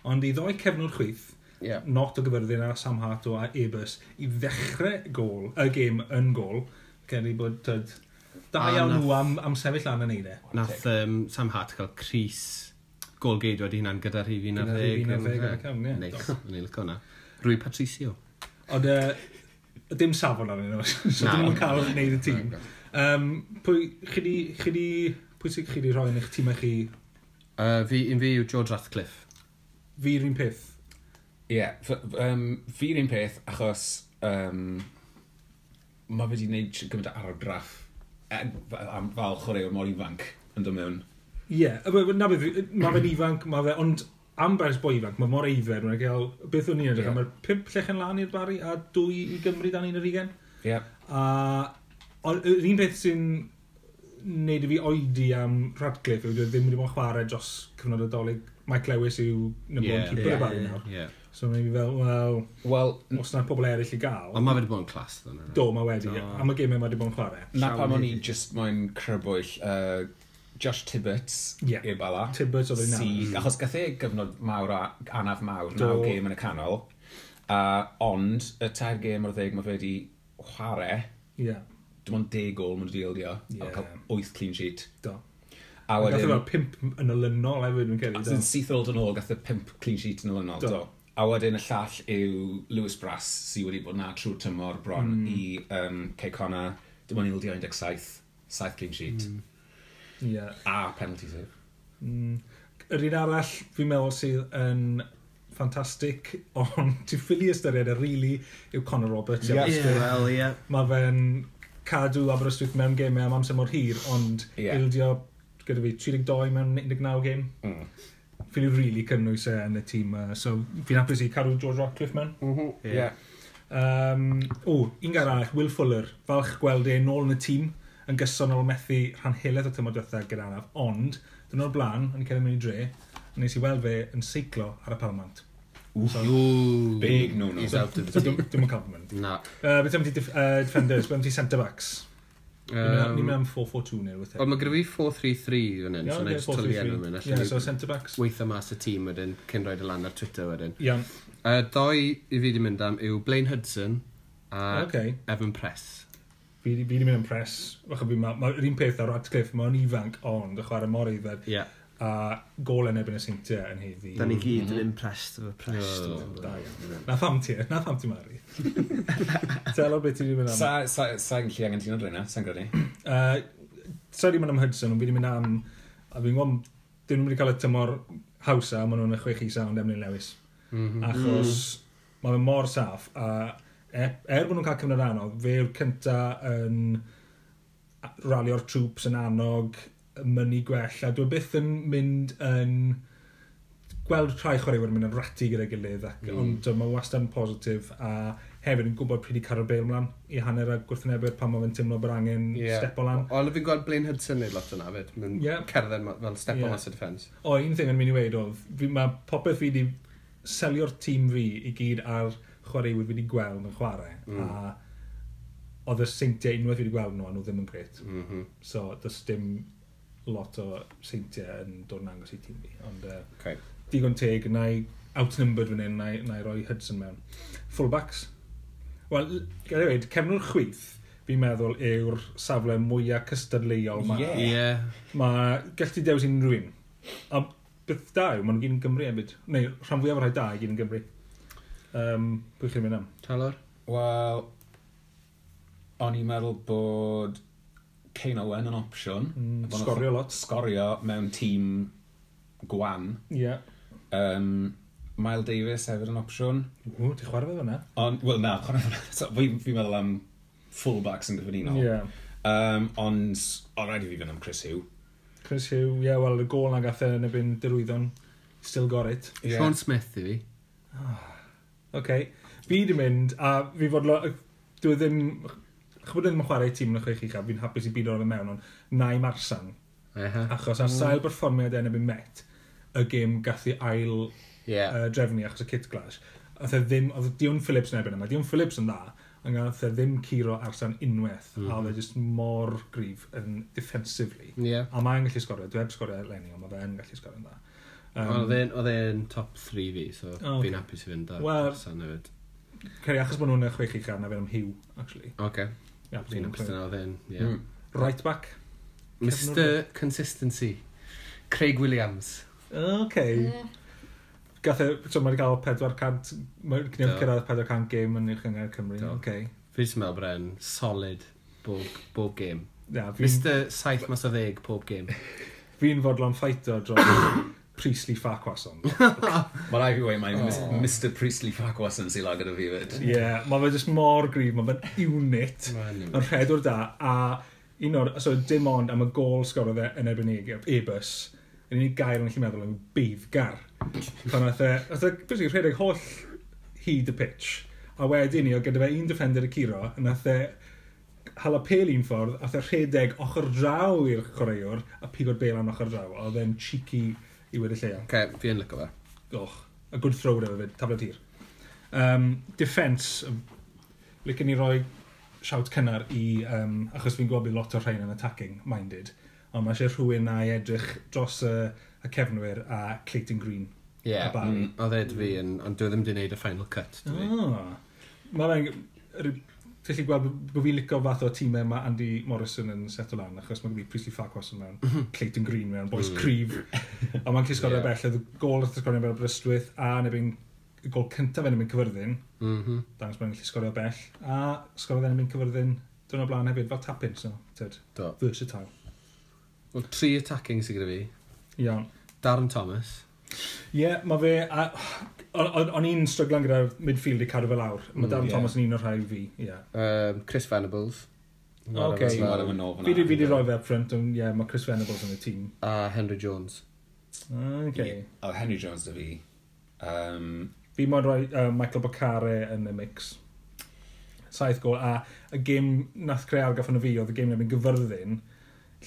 S1: Ond i ddoi cefnwr chwith,
S3: Ie.
S1: Knott o gyfyrddin a Sam Hart o a Ebus i ddechrau gol, y gêm yn gol, gen i bod tyd, da
S3: A
S1: iawn
S3: nath-
S1: nhw am, am sefyll lan yn neud e.
S3: Nath um, Sam Hart cael Cris Golgeid wedi hynna'n gyda rhif un ar
S1: Gyda rhif
S3: ddeg.
S1: un ar ddeg
S3: ynde?
S1: yn y cefn, ie.
S3: Neis, yn ei lyco hwnna. Rwy Patricio.
S1: Ond uh, dim safon arnyn nhw, so
S3: Na.
S1: dyn nhw'n cael wneud y tîm. Um, pwy, chi di, chi di, pwy sy'n chi di rhoi yn eich tîm chi?
S3: Uh, fi, un fi yw George Ratcliffe.
S1: Fi'r un peth.
S5: Ie, f- f- yym, fi'r un peth, achos um, mae wedi gwneud gymaint o argraff e- fel am- fel chwaraewr mor ifanc yn dod mewn.
S1: Ie, yeah, na beth, mae fe'n ifanc, mae fe, ond am Beres boi ifanc, mae mor eifer, mae'n cael beth o'n i'n edrych,
S5: Ie.
S1: yeah. mae'r pimp llechen lan i'r bari a dwy i Gymru dan un yr ugen.
S5: Ie.
S1: A ond yr un beth sy'n wneud i fi oedi am Radcliffe yw dwi ddim wedi bod yn chwarae dros cyfnod adolyg. Mike Lewis yw number
S3: Ie,
S1: yeah, one keeper
S3: ie,
S1: yeah, y bari
S6: ie.
S1: nawr.
S3: Ie.
S1: So mae'n fi fel, wel,
S5: Wel, n-
S1: os na pobl eraill i gael,
S3: Ond mae wedi bod yn clas, dda.
S1: do, mae wedi, am y gymau mae wedi bod yn chwarae.
S5: na pam o'n i just moyn crybwyll uh, Josh Tibbetts
S1: Ie.
S5: i'r bala.
S1: Tibbetts oedd yn
S5: Si-
S1: anodd.
S5: Achos gath e gyfnod mawr a anaf mawr,
S1: Do.
S5: naw gêm yn y canol. Uh, ond, y tair gêm o'r ddeg mae fe wedi chwarae,
S1: Ie,
S5: dim ond deg gol ma'n dildio,
S1: Ie.
S5: a cael wyth clean sheet.
S1: do.
S5: A
S1: Gath o
S5: wedyn,
S1: fel pimp yn olynol hefyd, mae'n
S5: a
S1: cael ei
S5: sy'n syth oed yn ôl, gath y pimp clean sheet yn olynol.
S1: Do.
S5: Do. A wedyn y llall yw Lewis Brass, sydd wedi bod na trwy'r tymor bron
S1: Hmm.
S5: i um, Ceicona, dim ond 17, saith clean sheet,
S1: Hmm. Ie.
S5: a penalty save.
S1: Mm. Yr un arall fi'n meddwl sydd yn ffantastig, ond ti'n ffili ystyried y rili yw Conor Roberts.
S6: Ie,
S1: Ie.
S6: Wel, ie.
S1: Mae fe'n cadw Aberystwyth mewn gemau am amser mor hir, ond
S5: Ie.
S1: yeah. ildio gyda fi 32 mewn 19 gêm.
S5: Mm.
S1: Fi'n rili cynnwys e yn y tîm. Uh, so fi'n hapus i cadw George Ratcliffe mewn.
S5: Mm-hmm,
S6: Ie.
S1: Um, o, un gair arall, Will Fuller, falch gweld e nôl yn y tîm yn gysonol methu rhan heledd o tymor diwethaf gyda araf, ond dyn o'r blaen, yn cael ei mynd i dre, a nes i weld fe yn seiclo ar y palmant.
S3: Ooh,
S5: Big no-no.
S3: He's out of the
S1: Dwi'n
S3: team.
S1: yn compliment.
S3: Na.
S1: Uh, beth am ti def- uh, defenders, beth am ti centre-backs? Um, Ni'n mynd am 4-4-2 neu rhywbeth.
S3: Ond mae gyda fi 4-3-3 fan hyn, so na i just tylu enw mynd.
S1: Ie, so centre-backs.
S3: Weitha mas y tîm wedyn, cyn roed y lan ar Twitter wedyn.
S1: Iawn,
S3: Y ddoi i fi wedi mynd am yw Blaine Hudson a
S1: oce.
S3: Evan Press.
S1: Fi fi di mynd yn pres. Mae'r un peth ar Radcliffe, mae'n ifanc, ond y chwarae mor eifer.
S3: Ie.
S1: A gol yn ebyn y seintiau yn heddi.
S6: Da ni gyd yn impressed efo prest.
S1: Da iawn. Na pham ti, na pham ti mari. Telo beth ti wedi mynd am.
S5: Sa- sa- Sa'n gallu angen ti'n adreina, sa'n grynu.
S1: Uh, Sa'n wedi mynd am Hudson, ond fi wedi mynd am... A fi'n gwybod, dyn nhw'n wedi cael y tymor hawsa, maen nhw'n y chwech isa ond Emlyn Lewis. Achos mae fe mor saff, a e- er bod nhw'n cael cyfnod anodd, fe yw'r cynta yn ralio'r troops yn annog, yn mynnu gwell, a dwi byth yn mynd yn gweld rhai chwaraewyr yn mynd yn rati gyda'i gilydd, ac, mm. ond mae wastad yn positif, a hefyd yn gwybod pryd i cario bel mlaen i hanner a gwrthwynebydd pan mae fe'n teimlo bod angen yeah. step o lan.
S3: Ond fi'n gweld Blaine Hudson neud lot o'na fyd. Mae'n
S1: Ie.
S3: cerdded ma- fel step
S1: Ie.
S3: on as a defence.
S1: O, un thing yn mynd i weid oedd, fi- mae popeth fi wedi selio'r tîm fi i gyd ar chwaraewyr fi wedi gweld yn chwarae. Mm. A oedd y seintiau unwaith fi wedi gweld nhw, a nhw ddim yn gret.
S3: Mhm.
S1: So, does dim lot o seintiau yn dod yn angos i tîm fi. Ond, uh,
S3: Okay.
S1: digon teg, na i outnumbered fan hyn, na i, na i roi Hudson mewn. Fullbacks. Wel, gael ei weid, cefnwr chwith, fi'n meddwl, yw'r safle mwyaf cystadleuol ma.
S5: Ie.
S3: Ie.
S1: Mae gallu ti dewis unrhyw un. A beth da yw, maen nhw gyd yn Gymru hefyd. Neu, rhan fwyaf o'r rhai da i gyd yn Gymru. Um, pwy chi'n mynd am?
S3: Talor?
S5: Wel, o'n i'n meddwl bod Kane Owen yn opsiwn.
S1: Mm,
S5: Bod nhw'n
S1: sgorio lot.
S5: Sgorio mewn tîm gwan.
S1: Ie.
S5: Um, Mile Davis hefyd yn opsiwn.
S1: Ww, ti chwarae fe fyna?
S5: Ond, wel na, chwarae hwnna. So, fi- fi'n meddwl am fullbacks yn gyffredinol.
S1: Ie.
S5: Um, ond, o rhaid i fi fynd am Chris Hugh.
S1: Chris Hugh, ie, wel, y gol na gath e yn ebyn dirwyddo'n still got it.
S5: Ie.
S3: Sean Smith i fi.
S1: Okay. Fi di mynd, a fi fod... Lo... Dwi ddim... Chwbod ddim yn chwarae tîm yn y chwech uchaf, fi'n hapus i byd o'r mewn, ond na i marsan.
S3: Ehe.
S1: Achos ar sail perfformiad eneb yn met, y gêm gath i ail
S3: Ie.
S1: uh, drefnu achos y kit clash. Oedd e ddim, oedd Dion Phillips yn erbyn yma. Dion Phillips yn dda, ond gath e ddim curo arsan unwaith.
S3: Mhm.
S1: Mm. A oedd e just mor grif yn defensively.
S3: Ie.
S1: A mae'n gallu sgorio, dwi heb sgorio Lenny, ond mae fe'n gallu sgorio yn dda.
S3: Oedd e'n- oedd e'n top 3 fi, so
S1: O,
S3: fi'n
S1: ocê.
S3: hapus i fynd ar
S1: Wel-
S3: Hudson hefyd. e-
S1: Ceri, achos bod nhw'n y chwech i chan, na fe'n am Hugh, actually.
S3: Oce.
S1: Ie, bod
S3: Fi'n
S1: nhw'n
S3: hapus
S1: clywed.
S3: yna oedd e'n, ie.
S5: Mm.
S1: Right back.
S3: Mr Consistency. Craig Williams.
S1: Okay. Gath e, so mae'n cael 400, mae'n
S3: Do.
S1: cyrraedd 400 game yn uwch yng Cymru.
S3: Do.
S1: Okay.
S3: Fi jyst yn meddwl bod e'n solid bob, bob game.
S1: Yeah, fi'n
S3: Mr Saith mas o ddeg pob game.
S1: fi'n fodlon ffaito dros Priestley Farquharson.
S5: Mae rhaid i fi wei, mae Mr Priestley Farquharson sy'n lag gyda fi fyd.
S1: Ie, yeah, mae fe jyst mor grif, mae fe'n unit,
S3: Mae fe'n unit.
S1: yn rhedwr da, a un o'r, so dim ond am y gol sgorodd e yn erbyn e- Ebus, yr unig gair yn gallu meddwl yn beiddgar. Pan oedd e, oedd e, beth yw'r rhedeg holl hyd y pitch, a wedyn ni oedd gyda fe un defender y curo, yn oedd e hala pel un ffordd, oedd e rhedeg ochr draw i'r chwaraewr, a pigo'r bel am ochr draw, a oedd e'n cheeky i wedi lleia.
S3: Ok, fi yn lyco fe.
S1: Och, a good throw efo fyd, tafla tir. Um, defense, um, licen ni roi siawt cynnar i, um, achos fi'n gwybod bod lot o'r rhain yn attacking minded, ond mae eisiau rhywun a i edrych dros y, y cefnwyr a Clayton Green.
S3: Ie,
S1: A Barn.
S3: yeah, oedd Ed fi, yn, ond dwi ddim wedi gwneud y final cut. e? Dwi.
S1: Ah, mae fe'n... ry- Felly gweld b- bod fi'n licio fath o tîmau mae Andy Morrison yn set o lan, achos mae'n gwneud Prisley Farquhar yn mewn, Clayton Green mewn, Boys Creef, a mae'n cysgod yeah.
S3: Ie.
S1: bell, oedd y gol wrth ysgorion fel Brystwyth, a nebyn y gol cyntaf yn mynd cyfyrddin,
S3: Mhm.
S1: dangos mae'n gallu sgorio bell, a sgorio fe'n mynd cyfyrddin dyn o blaen hefyd, fel tap-in, so, tyd,
S3: Do.
S1: versatile.
S3: Wel, tri attacking sy'n gyda fi.
S1: Iawn.
S3: Darren Thomas.
S1: Ie, yeah, mae fe... a- o- o- O'n i'n stryglan gyda'r midfield i cadw fe lawr. Mae Darren
S2: ie.
S1: Thomas yn un o'r rhai fi, ie.
S3: Um, Chris Venables.
S1: Oce.
S2: Ti'n gwybod am yn ofn.
S1: Fi di, fi di roi fe up front, ond ie, yeah, mae Chris Venables yn y tîm.
S3: A Henry Jones.
S1: Okay. Yeah.
S2: O, Henry Jones da fi. Um,
S1: Fi mo'n rhoi uh, Michael Bacare yn y mix. Saith gol, a y gêm nath creu argaff yn y fi, oedd y gêm yn gyfyrddin,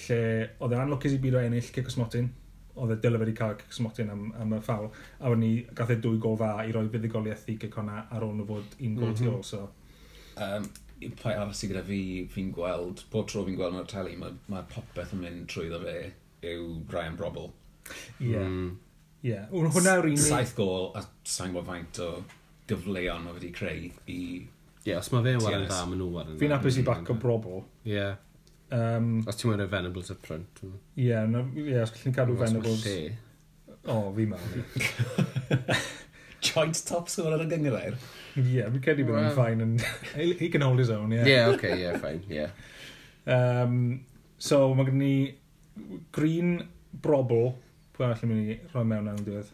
S1: lle oedd e'n anlwcus i byd o ennill Cic Osmotin, oedd e dylai wedi cael Cic Osmotin am, am y ffawl, a wedyn ni gath e dwy gol fa i roi fuddigoliaeth i Cic hwnna ar ôl nhw fod un gol mm -hmm. tu ôl, so...
S2: um, Pai arall sy'n gyda fi, fi'n gweld, pob tro fi'n gweld yn o'r tali, mae ma popeth yn mynd trwyddo fe yw Ryan Brobel.
S1: Ie. Yeah. Ie. Yeah. Hwna yw'r un...
S2: Saith gol a sain gwybod faint o gyfleon o wedi creu i...
S3: Ie, yeah, os mae fe'n waran
S2: Yes.
S3: dda, mae nhw waran dda.
S1: Fi'n apus i bac o brobl.
S3: Ie. Yeah.
S1: Um,
S3: Os ti'n mynd Venables up front. mm.
S1: Ie, na- ie, os gallwn ni cadw
S3: Os ma'
S1: Venables...
S3: lle.
S1: O, fi mewn. ie.
S2: Joint top sgwr ar y gyngrair.
S1: Ie, fi'n credu bod yn
S3: Wel.
S1: ffain yn... He he can hold his own, ie.
S3: Ie, oce, ie, ffain, ie.
S1: Um, so, mae gen ni Green Brobl. Pwy arall yn mynd i roi mewn ar yn diwedd?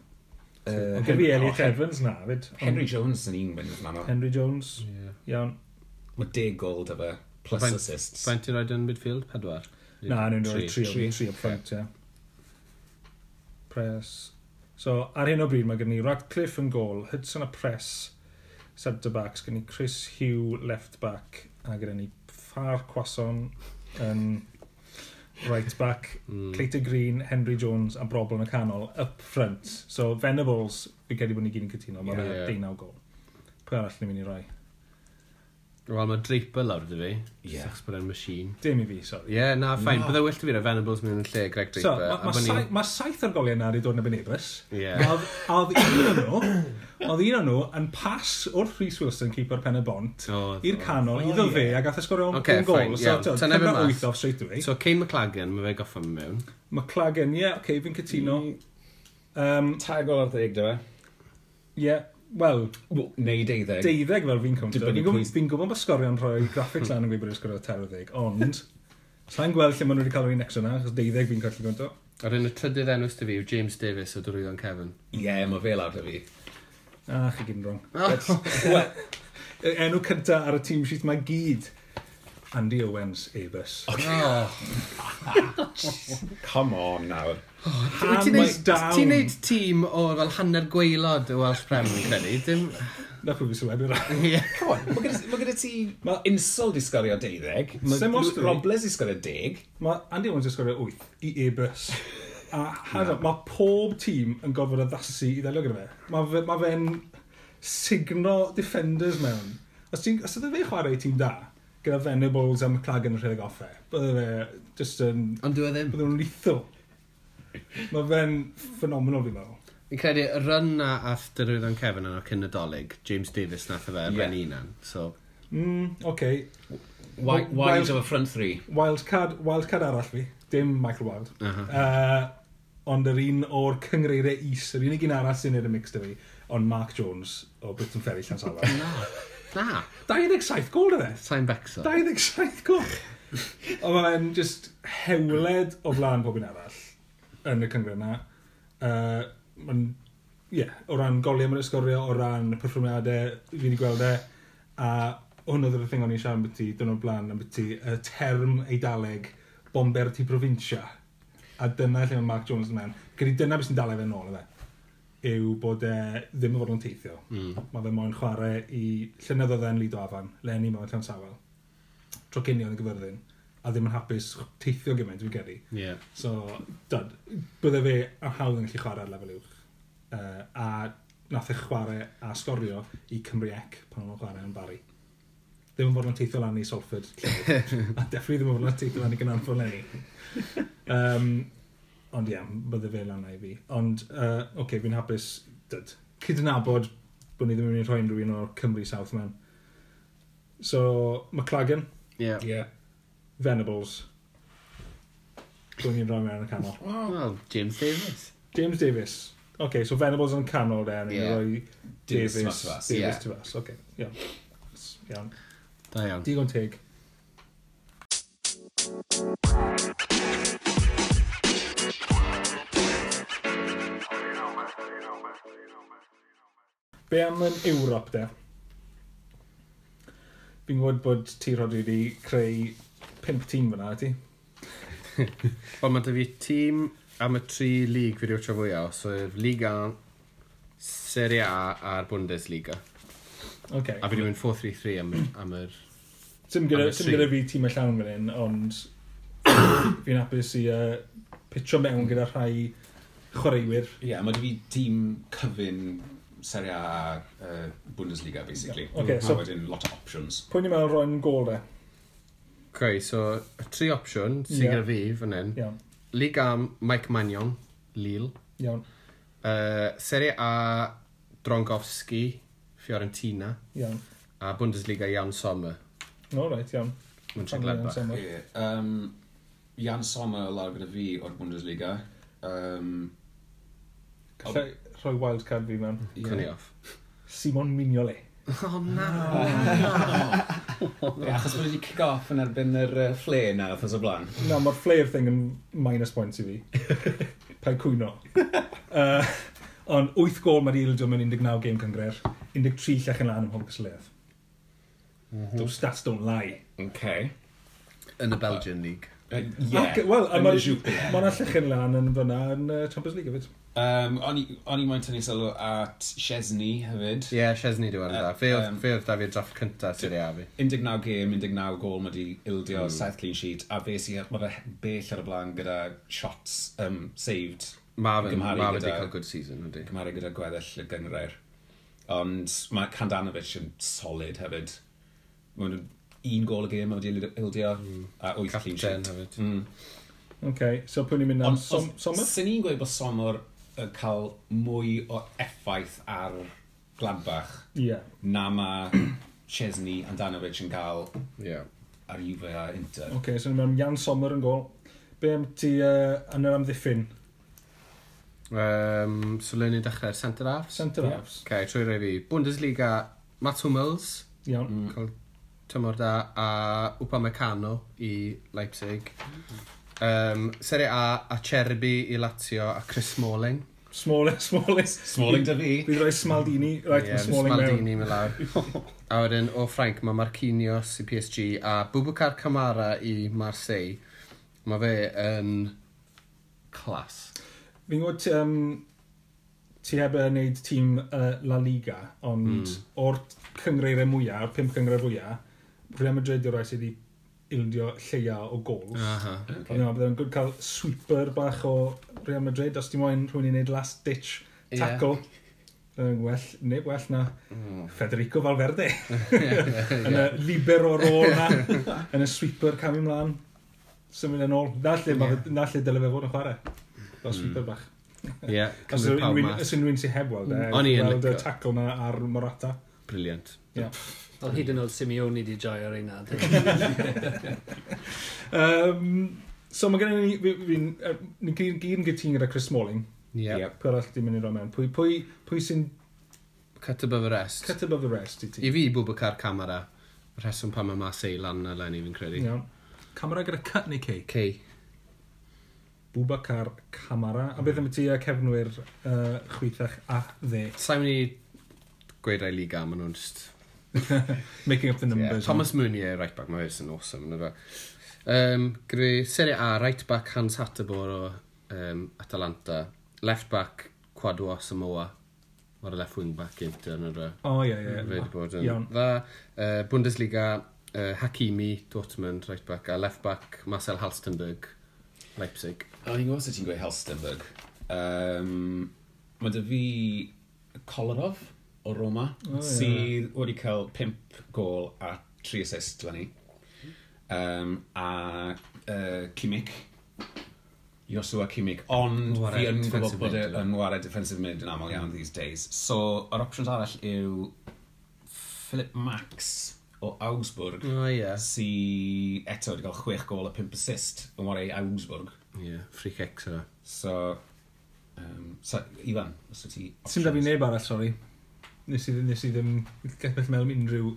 S1: Mae gen fi
S5: oh,
S1: Elliot Evans na, fyd. ond
S2: Henry Jones yn un mynd fan o.
S1: Henry Jones. Iawn.
S2: Mae deg gol da fe, plus
S3: Faint-
S2: assists.
S3: Faint ti'n rhaid yn midfield? Pedwar?
S1: Na, nhw'n rhoi tri o
S2: Tri.
S1: tri up front, ie. Press. So, ar hyn o bryd mae gen ni Radcliffe yn gol, Hudson a Press, centre backs, gen ni Chris Hugh left back, a gen ni Far Quason yn right back,
S3: Mm.
S1: Clayton Green, Henry Jones a Brobl yn y canol up front. So, Venables, fi credu bod ni gyd yn cytuno, mae
S3: Ie.
S1: yeah. 19 gol. Pwy arall ni'n mynd i roi?
S3: Wel, mae Draper lawr dy fi.
S2: Ie.
S3: Sex bod e'n machine.
S1: Dim i fi,
S3: Ie,
S1: sorry.
S3: yeah, na, ffain.
S2: No.
S3: Bydde well fi rhaid Venables mewn yn lle Greg
S1: So,
S3: Draper.
S1: mae ma
S3: a bo'
S1: saith,
S3: ni'n-
S1: ma saith o'r goliau na wedi dod yn ebynebus.
S3: Ie.
S1: A oedd- a oedd un o'n nhw, oedd un o'n nhw yn pas wrth Rhys Wilson, keeper pen y bont,
S3: Oedd,
S1: i'r
S3: oedd.
S1: canol, iddo fe, a gath ysgorio o'n
S3: Ocê,
S1: okay, gol.
S3: fine,
S1: So,
S3: iawn.
S1: yeah. tyd,
S3: Ta neb yn
S1: cyfnod
S3: mas.
S1: wyth off straight away. So,
S3: So, Cain McLagan, mae fe goffa mewn mewn.
S1: Mae Clagan, ie, yeah, okay, fi'n cytuno.
S3: Mm.
S1: Um,
S2: Tair gol ar ddeg da fe.
S1: yeah, wel,
S2: Wel, Neu deuddeg.
S1: deuddeg fel fi'n cymryd.
S2: Dibynnu
S1: Fi'n gwybod
S2: pwy-
S1: fi gwybod bod sgorion rhoi graphics lan yn gwybod bod ysgorio terwyddeg, ond... Sa'n gweld lle maen nhw wedi cael un extra na, achos deuddeg fi'n colli gwrando.
S3: Ar un y trydydd enw sydd fi yw James Davis o Drwyddo'n Cefn.
S2: Ie, mae fe lawr da fi.
S1: Ah, chi gyd yn wrong. Wel, y enw cynta ar y team sheet mae gyd. Andy Owens, Abus.
S3: Oh.
S2: Come on nawr.
S1: Hands down.
S3: Ti'n neud tîm o fel hanner gweilod o Welsh Prem yn credu, dim...
S1: Na pwy fi sylwebu rhaid.
S3: Ie.
S2: Come on, mae gyda, ma gyda ti... Mae insult i sgorio deuddeg.
S1: Sa'm
S2: Mae
S1: os dwi.
S2: Robles i sgorio deg.
S1: Mae Andy Owens yn sgorio 8 i Abus. A hada, mae pob tîm yn gorfod addasu i ddelio gyda fe. Mae fe, ma fe'n signo defenders mewn. Os, ti'n, os ydw fe chwarae i tîm da, gyda Venables a McLagan yn rhedeg offe, bydde fe just yn...
S3: Ond dwi ddim.
S1: Bydde nhw'n lethal. Mae fe'n ffenomenol fi meddwl.
S3: Fi'n credu, y run na ath Drwyddo'n Cefn yn o'r cynadolig, James Davis nath o fe ar ben unan. So,
S1: Mm, okay.
S2: Why,
S1: Wel-
S2: why
S1: wel-
S2: of a front three?
S1: Wildcard, wildcard arall fi, dim Michael Wild. Uh
S3: Aha.
S1: ond yr un o'r cyngreiriau is, yr unig un arall sy'n neud y mix da fi, ond Mark Jones o Britain Ferry Llansalfa.
S3: na,
S1: 27 gol dy fe!
S3: sa'n becso.
S1: 27 gol! Ond mae'n just hewled o flaen pob un arall yn y cyngreir yna. Uh, mae'n, ie, yeah, o ran goliau mae'n ysgorio, o ran y perfformiadau fi wedi gweld e, a hwn oedd y thing o'n i'n siarad ambyti, dyn o'r blaen ambyti, y term eidaleg bomber ti provincia. A dyna lle mae Mark Jones yn mewn. Gyd i dyna beth sy'n dal efe nôl efe. yw bod e ddim yn fod yn teithio. Mm. Mae fe moyn chwarae i llynyddoedd e'n Lido Afan, Lenny mewn Llawn Sawel, tro cynio yn y gyfyrddin, a ddim yn hapus teithio gymaint dwi'n geddi.
S3: Ie.
S1: So, dad, bydde fe am hawdd yn gallu chwarae ar lefel uwch. Uh, a nath e chwarae a sgorio i Cymru Ec pan o'n chwarae yn Bari. Ddim yn fod yn teithio lan i Salford. llefydd. a definitely ddim yn fod yn teithio lan i Gynanfon Lenny. Um, ond ie, bydde fe lan i fi. Ond, uh, oce, okay, fi'n hapus, dyd, cydnabod bod ni ddim yn mynd i rhoi unrhyw un o'r Cymru South mewn. So, McLagan,
S3: Ie.
S5: Ie.
S1: Venables. Dwi'n ni'n rhoi mewn yn y canol.
S2: Oh.
S3: Wel, James Davis.
S1: James Davis. Okay, so Venables yn canol de, yn
S3: Ie.
S1: yeah. rhoi Davis,
S2: Davis to
S1: Davis,
S2: us,
S3: ie.
S1: to us. Okay, iawn. S- Iawn.
S3: Da iawn.
S1: Digon teg. Be am yn Ewrop de? Fi'n gwybod bod ti Rodri wedi creu pimp tîm fyna, ti?
S3: Wel, mae da fi tîm am y tri lig fi rwy'n fwyaf. So, yw'r Liga, Serie A a'r Bundesliga.
S1: Okay.
S3: A fi wedi mynd 4-3-3 am, y- am yr...
S1: Sim gyda,
S3: Am y
S1: sim
S3: tri.
S1: gyda fi tîm y llawn fan hyn, ond fi'n hapus i uh, pitcho mewn gyda rhai chwaraewyr.
S5: Ie, mae di fi tîm cyfun Serie A a uh, Bundesliga, basically.
S1: Ie, ocê,
S5: a
S1: so-
S5: wedyn lot o options.
S1: Pwy ni'n meddwl roi'n gol e?
S3: Okay, so, y tri opsiwn sy'n
S1: Ie.
S3: gyda fi fan hyn.
S1: Iawn,
S3: Liga am Mike Magnon, Lille.
S1: iawn,
S3: Uh, Serie A Drongowski, Fiorentina.
S1: iawn.
S3: A Bundesliga Jan Sommer,
S1: No, right, iawn.
S3: Mönchengladbach.
S1: Iawn,
S5: Ie, Um, Jan Sommer lawr gyda fi o'r Bundesliga. Um,
S1: Gallai rhoi wildcard fi mewn.
S3: Cynni off.
S1: Simon Mignolet.
S3: Oh, na!
S5: Ie, achos bod wedi kick off yn erbyn yr uh, flare na, thos o blaen.
S1: Na, mae'r flair thing yn minus point i fi. Pa'i cwyno. Uh, ond 8 gol mae'r ildio mewn 19 game cangrer. 13 llach yn lan ym Hwncas Leith. Those stats don't lie.
S5: Okay.
S3: Yn y Belgian League.
S5: Uh,
S1: Ac-
S5: yeah,
S1: Wel, a
S5: yn
S1: mae
S5: y siwp.
S1: yna llechyn lan yn fyna yn uh, Champions League hefyd.
S5: Um, o'n i- o'n i'n moyn tynnu sylw at Chesney hefyd.
S3: Ie, yeah, Chesney dwi'n dda. Fe oedd
S5: yym,
S3: fe oedd da fi'r draff cynta sy'n ei afi.
S5: 19 gêm, 19 gol mae wedi ildio,
S3: Hmm.
S5: mm. 7 clean sheet, a fe sy, mae fe bell ar y blaen gyda shots um, saved,
S3: Mae fe ma
S5: Gymharu
S3: fe wedi
S5: gyda-
S3: cael good season, ydy.
S5: cymharu gyda gweddill y gyngrair. Ond mae Candanovic yn solid hefyd. Mae'n un gol y gêm mae wedi ildio, mm. a 8 clean
S3: Hmm. Captain uh,
S5: sheet.
S3: hefyd.
S5: Mm.
S1: Okay, so pwy ni'n mynd am
S5: Ond
S1: som, Sommer?
S5: Swn i'n gweud bod Sommer yn cael mwy o effaith ar Gladbach
S1: Ie.
S5: na mae Chesney and Danovic yn cael
S3: Ie.
S5: ar Juve a Inter.
S1: Okay, so ni'n mynd am Jan Sommer yn gol. Be am ti uh, yn yr amddiffyn?
S3: Um, so le ni dechrau, centre halves?
S1: Centre halves.
S3: Ok, trwy roi fi. Bundesliga, Matt Hummels,
S1: Iawn.
S3: mm. cael tymor da, a Upamecano i Leipzig. Um, Serie A, a Cherby i Lazio, a Chris Smalling.
S1: Smalling, Smalling.
S5: Smalling da fi.
S1: Bydd rhoi Smaldini, right, yeah, Smalling mewn.
S3: Maldini mewn lawr. a wedyn o Ffrainc, mae Marquinhos i PSG a Boubacar Camara i Marseille. Mae fe yn clas.
S1: Fi'n gwybod um, ti heb yn neud tîm uh, La Liga, ond
S5: Mm.
S1: o'r cyngreirau mwyaf, o'r pimp cyngreir fwyaf, Real Madrid yw'r rai sydd wedi ildio lleia o gols.
S5: Ah.
S3: Aha.
S1: Okay. Ond byddai'n gwrdd cael sweeper bach o Real Madrid os ti'n moyn rhywun i wneud last ditch
S3: Ie.
S1: tackle. Yeah. well, neu well na
S3: Mm.
S1: Federico Valverde yn y libero rôl na yn y sweeper cam ymlaen symud yn ôl na lle, yeah. na lle dyle fe fod yn chwarae fel sweeper bach
S3: Ie,
S1: os yw
S3: Mm. cymryd pawb
S1: unrhyw-
S3: mas. Mm.
S1: os yw unrhyw un sy'n heb weld e
S3: O'n i yn
S1: weld y
S3: licio.
S1: tackle na ar Morata
S3: Briliant.
S1: yeah.
S4: Ond hyd yn oed Simeone di joio reina.
S1: um, so mae gennym ni fi- fi'n yy, ni'n gyd- gyd yn gytun gyda Chris Smalling
S3: Ie.
S5: Ie.
S1: pwy arall ti'n mynd i roi mewn pwy, pwy, pwy sy'n
S3: Cut above y rest.
S1: cut above the rest i ti
S3: I fi, Boubacar Camara. Rheswm pan mae Marseille lan na lenni fi'n credu.
S1: iawn Camera gyda cut neu cake
S3: Cei.
S1: Bwbacar Camara a beth am i ti a cefnwyr uh, chwythach a dde
S3: Sa'n mynd i gweud rai liga, maen nhw'n just...
S1: making up the
S3: Yeah.
S1: numbers
S3: Thomas Mounier, right back, mae fe'n awesome. Yna fe. Um, Gry, Serie A, right back Hans Hattabor o um, Atalanta. Left back Quadwa Samoa. Mae'r left wing back Inter yn yr
S1: O, ie, ie.
S3: fe wedi bod yn
S1: Iawn.
S3: dda. Uh, Bundesliga, uh, Hakimi, Dortmund, right back, a left back Marcel Halstenberg, Leipzig.
S5: O, ni'n gwybod sut ti'n gweud Helstenberg. Um, mae dy fi Kolarov o Roma, oh, sydd wedi cael 5 gol a 3 assist fan ni. Um, a uh, Kimik, Joshua Kimik, ond
S3: Ware
S5: fi yn
S3: defensive
S5: gwybod bod e
S3: mid, yna.
S5: yn wario defensive mid yn aml iawn these days. So, yr options arall yw Philip Max o Augsburg,
S3: O, ie.
S5: sy eto wedi cael 6 gol a 5 assist yn wario Augsburg.
S3: Ie, free kicks yna.
S5: So, um, so Ivan, os wyt ti...
S1: Ti'n da fi neb arall, sori. Nes i, ddim- nes i ddim gethbeth mewn am unrhyw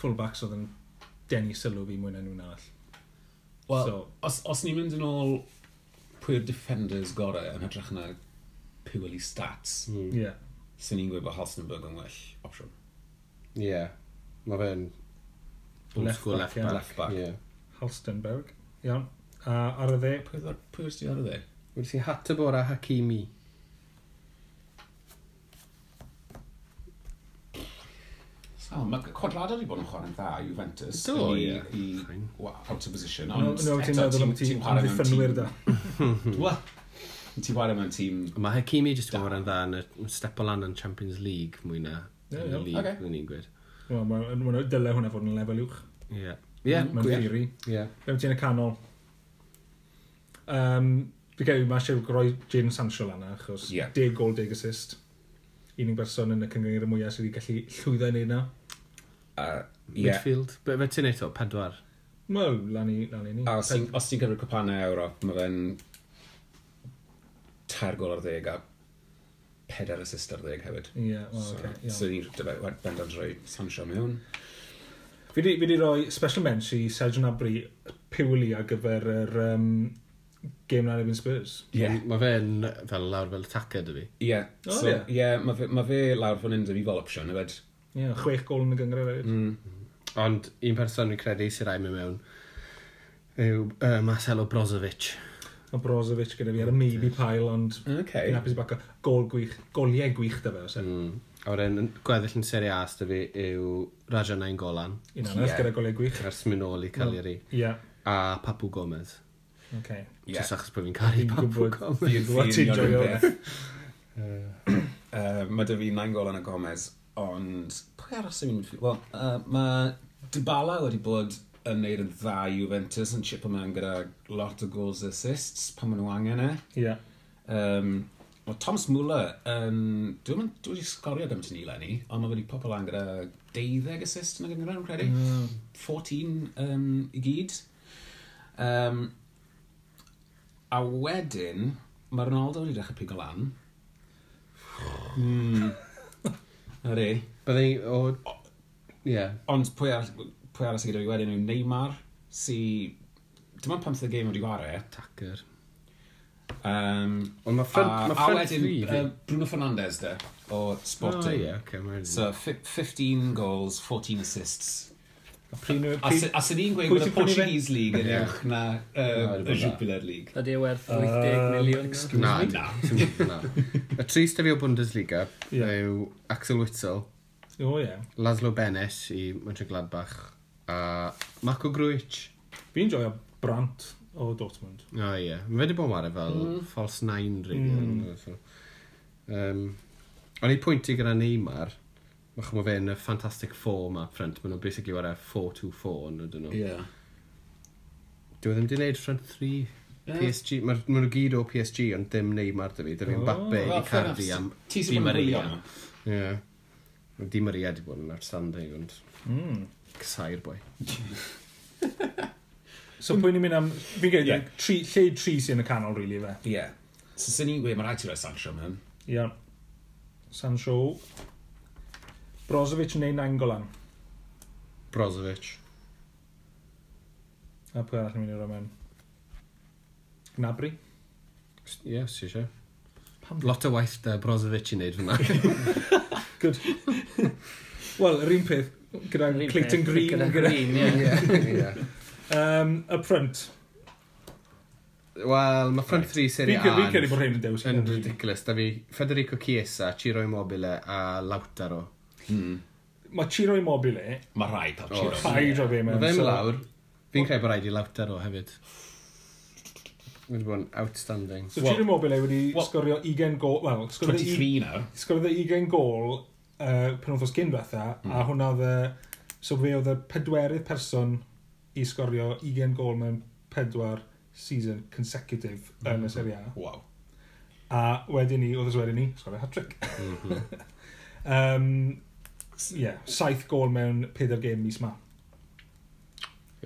S1: fullbacks oedd yn denu sylw fi mwy na nhw'n arall.
S5: Wel, so.
S1: So-
S5: os, os ni'n mynd yn ôl pwy'r defenders gorau yn hytrach na purely stats, mm.
S1: Ie. Yeah.
S5: sy'n ni'n gweud bod Halstenberg yn well opsiwn.
S3: Ie. Mae fe'n... Old
S1: Left
S3: school
S1: back,
S3: left
S1: ie.
S3: back.
S5: Left back.
S3: Ie.
S1: Halstenberg. Iawn. A ar y dde,
S5: Pwy oedd pwy oedd ti ar y dde?
S3: Wedi si Hatabor a Hakimi.
S5: Sal, mae Quadrado wedi bod yn chwarae'n dda i Juventus.
S3: Do,
S5: i,
S3: ie.
S5: I,
S3: Fine.
S5: wa- out of position.
S1: no,
S5: Ond
S1: no, ti'n meddwl am ti am ddiffynwyr da.
S5: Wel, ti'n wario mewn tîm...
S3: Mae Hakimi jyst yn fawr yn dda yn y step o lan yn Champions League mwy na.
S1: Ie,
S3: yn y
S1: ie,
S3: league,
S5: oce.
S3: fyddwn ni'n gweud.
S1: Wel, ma- ma' dyle hwnna fod yn lefel uwch.
S3: Ie. Ie,
S1: Mm, Mae'n
S3: gwir.
S1: theori.
S3: Ie.
S1: Fewn ti'n y canol. Um, fi gael mae eisiau rhoi Jadon Sancho lan yna, achos
S5: Ie.
S1: 10 gol, 10 assist. Un unig berson yn y cyngor mwyaf sydd wedi gallu llwyddo i wneud na.
S5: Uh, yeah.
S3: Midfield. Be be ti'n neud o? Pedwar.
S1: Wel, lan i, lan i ni.
S5: A os ti'n- os ti'n cyfrif cwpanau Ewrop, mae fe'n tair gol ar ddeg a pedair assist ar ddeg hefyd.
S1: Ie, wel,
S5: So,
S1: oce,
S5: so
S1: iawn.
S5: ni'n dyfa- bendant rhoi Sancho mewn.
S1: Fi di- fi di roi special mention i Sergio Nabri purely ar gyfer yr um, game na erbyn Spurs.
S5: Ie.
S3: Mae fe'n fel lawr fel attacker dy fi.
S5: Ie.
S1: O,
S5: So,
S1: ie.
S5: ie, mae fe- mae fe lawr fan hyn dy fi fel opsiwn, hefyd.
S1: Ie, yeah, chwech gol yn y gyngor hefyd. Mm.
S3: Ond un person fi'n credu sy'n rhaid mi mewn yw uh, Marcelo Brozovic.
S1: A Brozovic gyda fi ar y
S5: Mm.
S1: maybe pile, ond
S5: Okay.
S1: fi'n hapus i bacio gol gwych, goliau gwych da fe, os e.
S3: Mm. A wedyn gweddill yn Serie A sydd fi yw Raja Nainggolan.
S1: Un anodd
S5: Mm. Ie.
S1: gyda goliau gwych.
S3: Ers mynd nôl i Cagliari.
S1: Ie,
S3: A Papu Gomez.
S1: oce.
S5: Ie.
S3: Yeah. Just achos bod fi'n caru
S1: Fi'n
S3: Papu
S1: gwybod.
S3: Gomez.
S5: Fi-
S1: Wel,
S5: fi
S1: ti'n
S5: yn union
S1: joio.
S5: yr un peth. Yy, Mae dy fi nain gol yn y Gomez, ond pwy aros yn mynd? Wel, yy, mae Dybala wedi bod yn neud yn dda i Juventus yn chip yma gyda lot o goals assists pan maen nhw angen e.
S1: Ie.
S5: Um, Mae Thomas Muller yn... Dwi'n mynd... Dwi wedi sgorio gymaint yn i lenni, ond mae wedi popol lan gyda 12 assist yn y gyngor yn credu. 14 um, i gyd. Um, a wedyn, mae Ronaldo wedi dechrau pigo lan. Hmm. Mm. Ydy.
S3: Byddai o... Ie.
S5: Ond pwy ar... Pwy aros i gyda fi wedyn yw Neymar, si... Dyma 15 game wedi gwario.
S3: Attacker.
S5: Um,
S3: Ond mae
S5: a,
S3: front, ma
S5: a
S3: front
S5: wedyn
S3: three Oh, fi.
S5: yy, Bruno Fernandes de, o
S3: O
S5: Sporting.
S3: ie, oce. mae'n-
S5: So, fi- 15 goals, 14 assists.
S1: Pryn yw...
S5: A sy- a sy'n ni'n gweud
S1: Pwy
S5: bod y
S1: ti'n prynu fe?
S5: Portuguese League yn
S3: Ie.
S5: uwch na
S3: Na,
S5: yy,
S3: dwi'n
S5: y
S3: gwbod.
S5: Jupiler League.
S4: Ydy e werth 80 miliwn? na?
S3: Na, dim- dim- na. Y tri stefi o Bundesliga
S1: Ie.
S3: yw Axel Witzel,
S1: O ie.
S3: Laszlo Benes i Mönchengladbach a Marco Gruic.
S1: Fi'n joio Brant o Dortmund.
S3: O oh, ie, mae wedi bod yn wario fel mm. false nine rili. Mm. So, um, o'n i pwyntio gyda Neymar, Mach mae fe'n y fantastic form a front, maen nhw'n basically wario 4-2-4 yn ydyn nhw.
S5: Ie.
S3: Dwi ddim wedi gwneud front 3. PSG, maen ma nhw gyd o PSG ond dim Neymar dy fi, dy fi'n Mbappe i
S5: Wel, fair enough.
S3: Cardi am Di
S5: Ti sy'n bod yn
S3: Maria.
S5: gwylio nhw?
S3: Ie. Mae Di Maria wedi bod yn outstanding, ond...
S1: Mm.
S3: Cysair boi.
S1: So pwy'n ni'n mynd am... Fi'n gwneud
S5: Ie.
S1: yeah. tri, lle tri sy'n y canol, rili, really,
S5: Ie. So, sy'n ni'n gweud, mae rhaid ti roi Sancho mewn.
S1: fe. Iawn. Sancho. Brozovic neu Nangolan.
S3: Brozovic.
S1: A pwy arall yn mynd i roi mewn? Gnabry.
S3: S- Ie, yes, eisiau.
S1: Pam-
S3: Lot o waith da Brozovic i wneud fyna.
S1: Good. Wel, yr un peth, gyda
S4: Yr un
S1: Clayton
S4: peth,
S1: Green.
S4: Gyda
S1: Gyda...
S4: Green, ie.
S3: Ie.
S1: Um, up front.
S3: Wel, mae front 3
S1: Fi'n
S3: Serie A
S1: credu fi'n credu
S3: yn-
S1: bod rhain yn dewis.
S3: yn ridiculous. Da fi Federico Chiesa, Ciro Immobile a Lautaro.
S1: Mae Ciro Immobile,
S5: Mae rai cael
S3: O,
S5: Ciro.
S1: paid o fe
S3: Mae
S1: mewn.
S3: fe'n
S1: so-
S3: lawr. Fi'n credu bod rhaid i Lautaro hefyd. Wedi bod yn outstanding.
S1: So Ciro Immobile wedi sgorio 20 gol, wel, sgorio
S5: 23 nawr.
S1: Sgorodd e 20 gol uh, pan oedd cyn fatha, mm. a hwnna oedd e... So fe oedd y pedwerydd person i sgorio 20 gol mewn pedwar season consecutive mm. yn y Serie A.
S5: Waw.
S1: A wedyn ni, oedd wedyn ni, sgorio hat-trick. Mhm. um, yeah, saith gol mewn pedair gêm mis ma.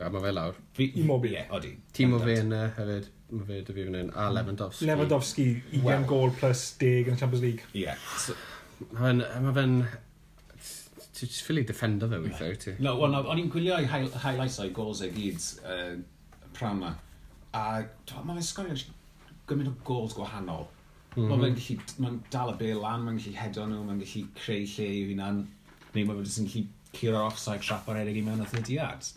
S3: A mae fe lawr.
S1: Immobile.
S5: Ie, odi.
S3: Timo fe yna hefyd. Mae fe dy fi fan hyn. A Lewandowski.
S1: Lewandowski, 20 wow. gol plus 10 yn y Champions League.
S5: Ie. So-
S3: Mae fe'n... Mae fe'n... Ti'n just ffili defendo fe weithio, wyt ti?
S5: No, wel, na- o'n i'n gwylio ei high- highlights o'i gols e gyd uh, pra yma. A t'mo', mae fe'n sgorio gymaint o gols gwahanol. Mae
S3: Mhm.
S5: fe'n gallu, mae'n dal y bel lan, mae'n gallu hedo nhw, mae'n gallu creu lle i hunan. Neu mae fe'n jyst yn gallu curo offside trap ar eraill i mewn at y diad.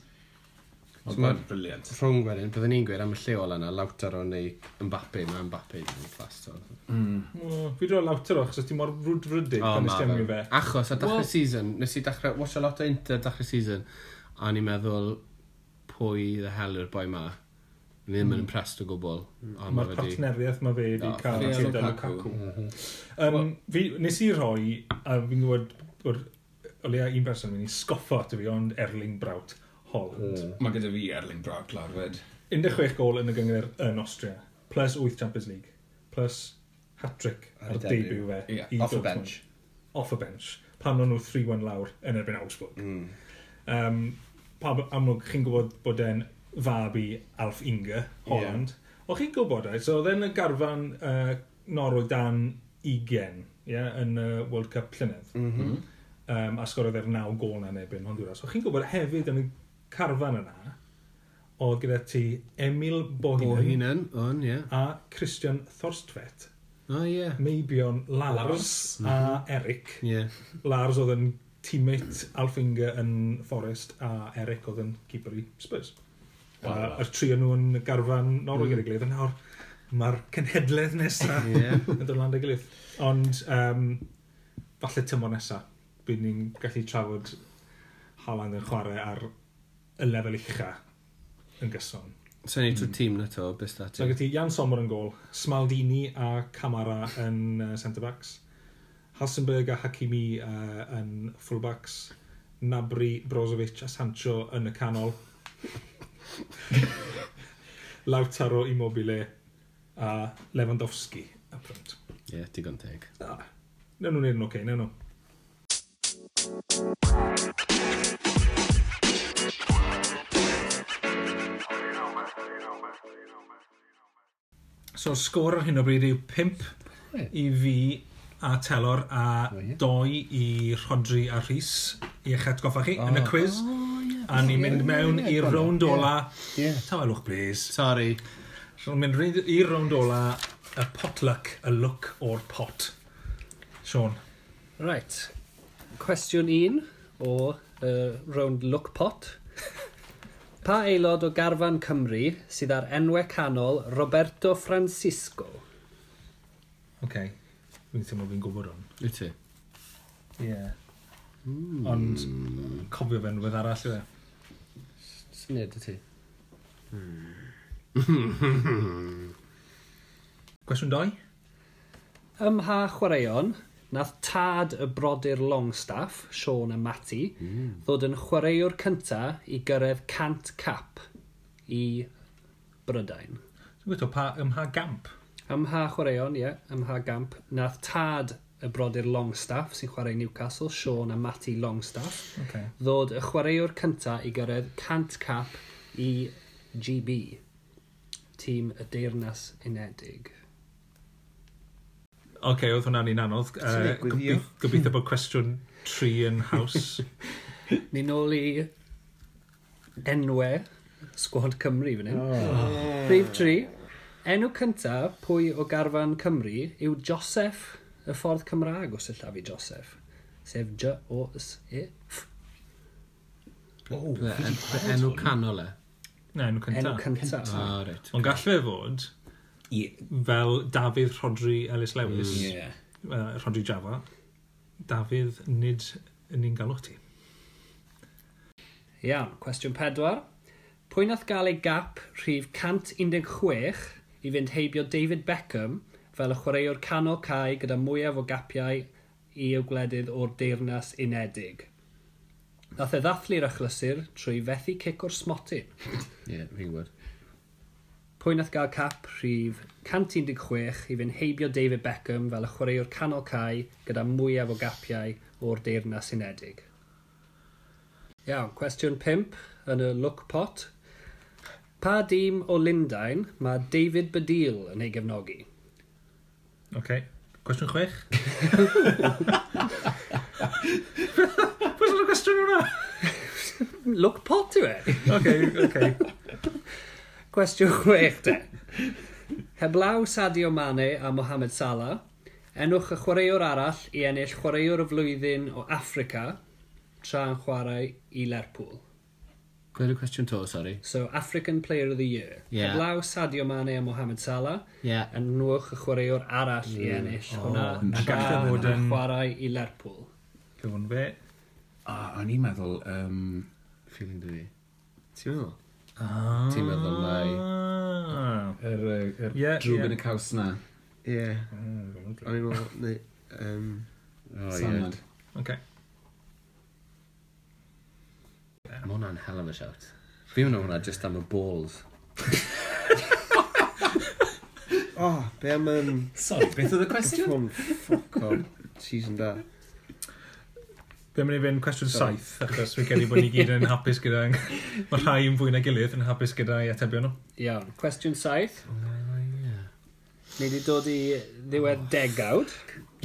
S3: So ma-
S5: Mae'n briliant.
S3: Rhwng wedyn, byddwn ni'n gweud am y lleol yna, Lautaro neu Mbappe, mae Mbappe yn clas to.
S1: Oh, fi drwy'n lawter o, achos ti'n mor rwdfrydig
S3: O,
S1: pan
S3: ma'
S1: ystem i fe.
S3: fe. Achos, a dachrau
S5: Wel-
S3: season, nes i dachrau, watch a lot o Inter dachrau season, a o'n i'n meddwl pwy the hell yw'r boi ma. Ni ddim yn impressed o gwbl. Ond mae
S1: Mae'r
S3: wedi...
S1: partneriaeth mae fe wedi
S3: O,
S1: cael
S2: fe
S1: yn
S2: a
S1: gyda
S2: Lukaku.
S1: Lukaku. Um, fi, nes i rhoi, a fi'n gwybod bod o leia un person mynd i sgoffo at fi, ond Erling Braut Holland.
S5: Mae gyda fi Erling Braut Glarfed.
S1: 16 gol yn y gyngor yn Austria, plus 8 Champions League, plus hat-trick
S3: y
S1: ar
S3: debut.
S1: debut fe.
S5: Ie,
S1: i
S3: off the
S1: Dortmund.
S3: bench.
S1: Off a bench. Pan o'n nhw 3-1 lawr yn erbyn Augsburg.
S3: Mm.
S1: Um, pa amlwg chi'n gwybod bod e'n fab i Alf Inge, Holland. O'ch chi'n gwybod e? So oedd e'n y garfan uh, Norwy dan 20 yeah, yn y World Cup llynedd. Mm -hmm. um, a sgorodd e'r 9 gol na'n ebyn Honduras. O'ch chi'n gwybod hefyd yn y carfan yna, oedd gyda ti Emil
S3: O,
S1: Bohinen
S3: hyn yn, o'n, ie.
S1: a Christian Thorstvedt,
S3: O, ie.
S1: Meibion Lars, a Eric.
S3: Ie.
S1: Lars oedd yn teammate Alfinger yn Forest a Eric oedd yn keeper i Spurs. A yr tri o'n nhw yn y garfan Norwy gyda'i gilydd, a nawr mae'r cenhedlaeth nesaf
S3: Ie.
S1: yn dod lan 'da'i gilydd. Ond um, falle tymor nesaf bydd ni'n gallu trafod Haaland yn chwarae ar y lefel ucha yn gyson.
S3: So ni
S6: Mm.
S3: trwy tîm na to, beth da
S1: So yeah.
S3: ti?
S1: gyda ti Jan Sommer yn gol, Smaldini a Camara yn uh, centre-backs, Halsenberg a Hakimi uh, yn full-backs, Nabri, Brozovic a Sancho yn y canol, Lautaro Immobile a Lewandowski a print.
S3: Ie, digon teg.
S1: Ah, newn nhw'n un o'r okay, newn nhw. So, sgôr ar hyn o bryd yw 5 i fi a Telor a 2 i Rodri a Rhys i eich atgoffa chi yn y cwiz. A ni'n mynd mewn i'r rownd ola. Tawelwch, please.
S3: Sorry.
S1: So ni'n mynd ryd- i'r rownd ola, y potluck, y look o'r pot. Sean.
S4: Right. Cwestiwn un o uh, Round Look Pot. Pa aelod o garfan Cymru sydd ar enwau canol Roberto Francisco?
S1: OK. Fi'n teimlo fi'n gwybod hwn.
S3: Wyt ti?
S1: Ie. Yeah. Mm. Ond cofio fe'n rhywbeth arall yw e.
S3: Syniad y ti?
S1: Cwestiwn 2.
S4: Ym mha chwaraeon, nath tad y brodyr Longstaff, Sean a Matty, ddod yn chwaraewr cynta i gyrraedd cant cap i Brydain.
S1: Dwi'n gwybod pa ymha gamp.
S4: Ym mha chwaraeon, ie, ym mha gamp, nath tad y brodyr Longstaff sy'n chwarae Newcastle, Sean a Matty Longstaff,
S1: OK.
S4: ddod y chwaraewr cynta i gyrraedd cant cap i GB, tîm y Deyrnas Unedig.
S1: OK, oedd hwnna'n un anodd.
S6: Ti'n
S1: Yy,
S6: gwylio?
S1: gobeith- Gobeithio bod cwestiwn 3 yn haws.
S4: Ni nôl i enwau sgwad Cymru fan hyn. Rhif 3. Enw cynta pwy o garfan Cymru yw Joseph, y ffordd Cymraeg o sillafu Joseph. Sef J-O-S-E-F.
S3: Be- en- be- Enw canol e.
S1: Na, enw
S4: Enw
S1: cyntaf.
S4: cynta.
S3: O, Ah, reit.
S1: Ond gall fe fod
S2: Ie.
S1: fel Dafydd Rodri Ellis Lewis, mm.
S2: Ie.
S1: uh, Rodri Java, Dafydd nid ni'n galw ti.
S4: Iawn, cwestiwn pedwar. Pwy nath gael ei gap rhif 116 i fynd heibio David Beckham fel y chwaraewr canol cae gyda mwyaf o gapiau i yw gwledydd o'r deyrnas unedig? Nath e ddathlu'r achlysur trwy fethu cic o'r smotyn.
S3: Ie, fi'n gwybod.
S4: Pwy nath gael cap rhif 116 i fynd heibio David Beckham fel y chwaraewr canol cae gyda mwyaf o gapiau o'r deyrnas unedig? Iawn, cwestiwn 5 yn y look pot. Pa dîm o Lundain mae David Badil yn ei gefnogi?
S1: Okay. Cwestiwn chwech. Pwy sy'n y cwestiwn yna?
S4: Look pot yw e?
S1: Okay, okay.
S4: Cwestiwn 6 de. Heblaw Sadio Mane a Mohamed Salah, enwch y chwaraewr arall i ennill chwaraewr y flwyddyn o Africa tra yn chwarae i Lerpwl.
S3: Gwyd y cwestiwn to, sori.
S4: So, African Player of the Year.
S3: Ie.
S4: Heblaw Sadio Mane a Mohamed Salah,
S3: Ie. Yeah.
S4: enwch y chwaraewr arall i ennill hwnna
S1: na
S4: tra
S1: gallai fod
S4: yn
S1: yn-
S4: chwarae i Lerpwl.
S1: Cyfwn fe.
S2: A o'n i'n meddwl, um,
S3: Feeling dwi. Ti'n meddwl?
S1: Ah.
S2: Ti'n meddwl mai. yr er, er
S1: Ie,
S2: yeah, drwg
S1: ie.
S2: yn y caws na.
S6: Ie. O'n i'n meddwl, neu... Um,
S3: O, ie.
S2: Salmad.
S1: Okay.
S3: Mae hwnna'n hell of a shout. Fi'n meddwl hwnna just am y balls.
S6: o, be am yn...
S2: Sorry, beth oedd y cwestiwn?
S6: Ffwn ffoc o season da.
S1: Be mae'n ei fynd cwestiwn saith, achos fi credu bod ni gyd yn hapus gyda... Mae rhai yn fwy na gilydd yn hapus gyda i atebion nhw.
S4: Iawn, cwestiwn saith. Ni wedi dod i ddiwedd degawd.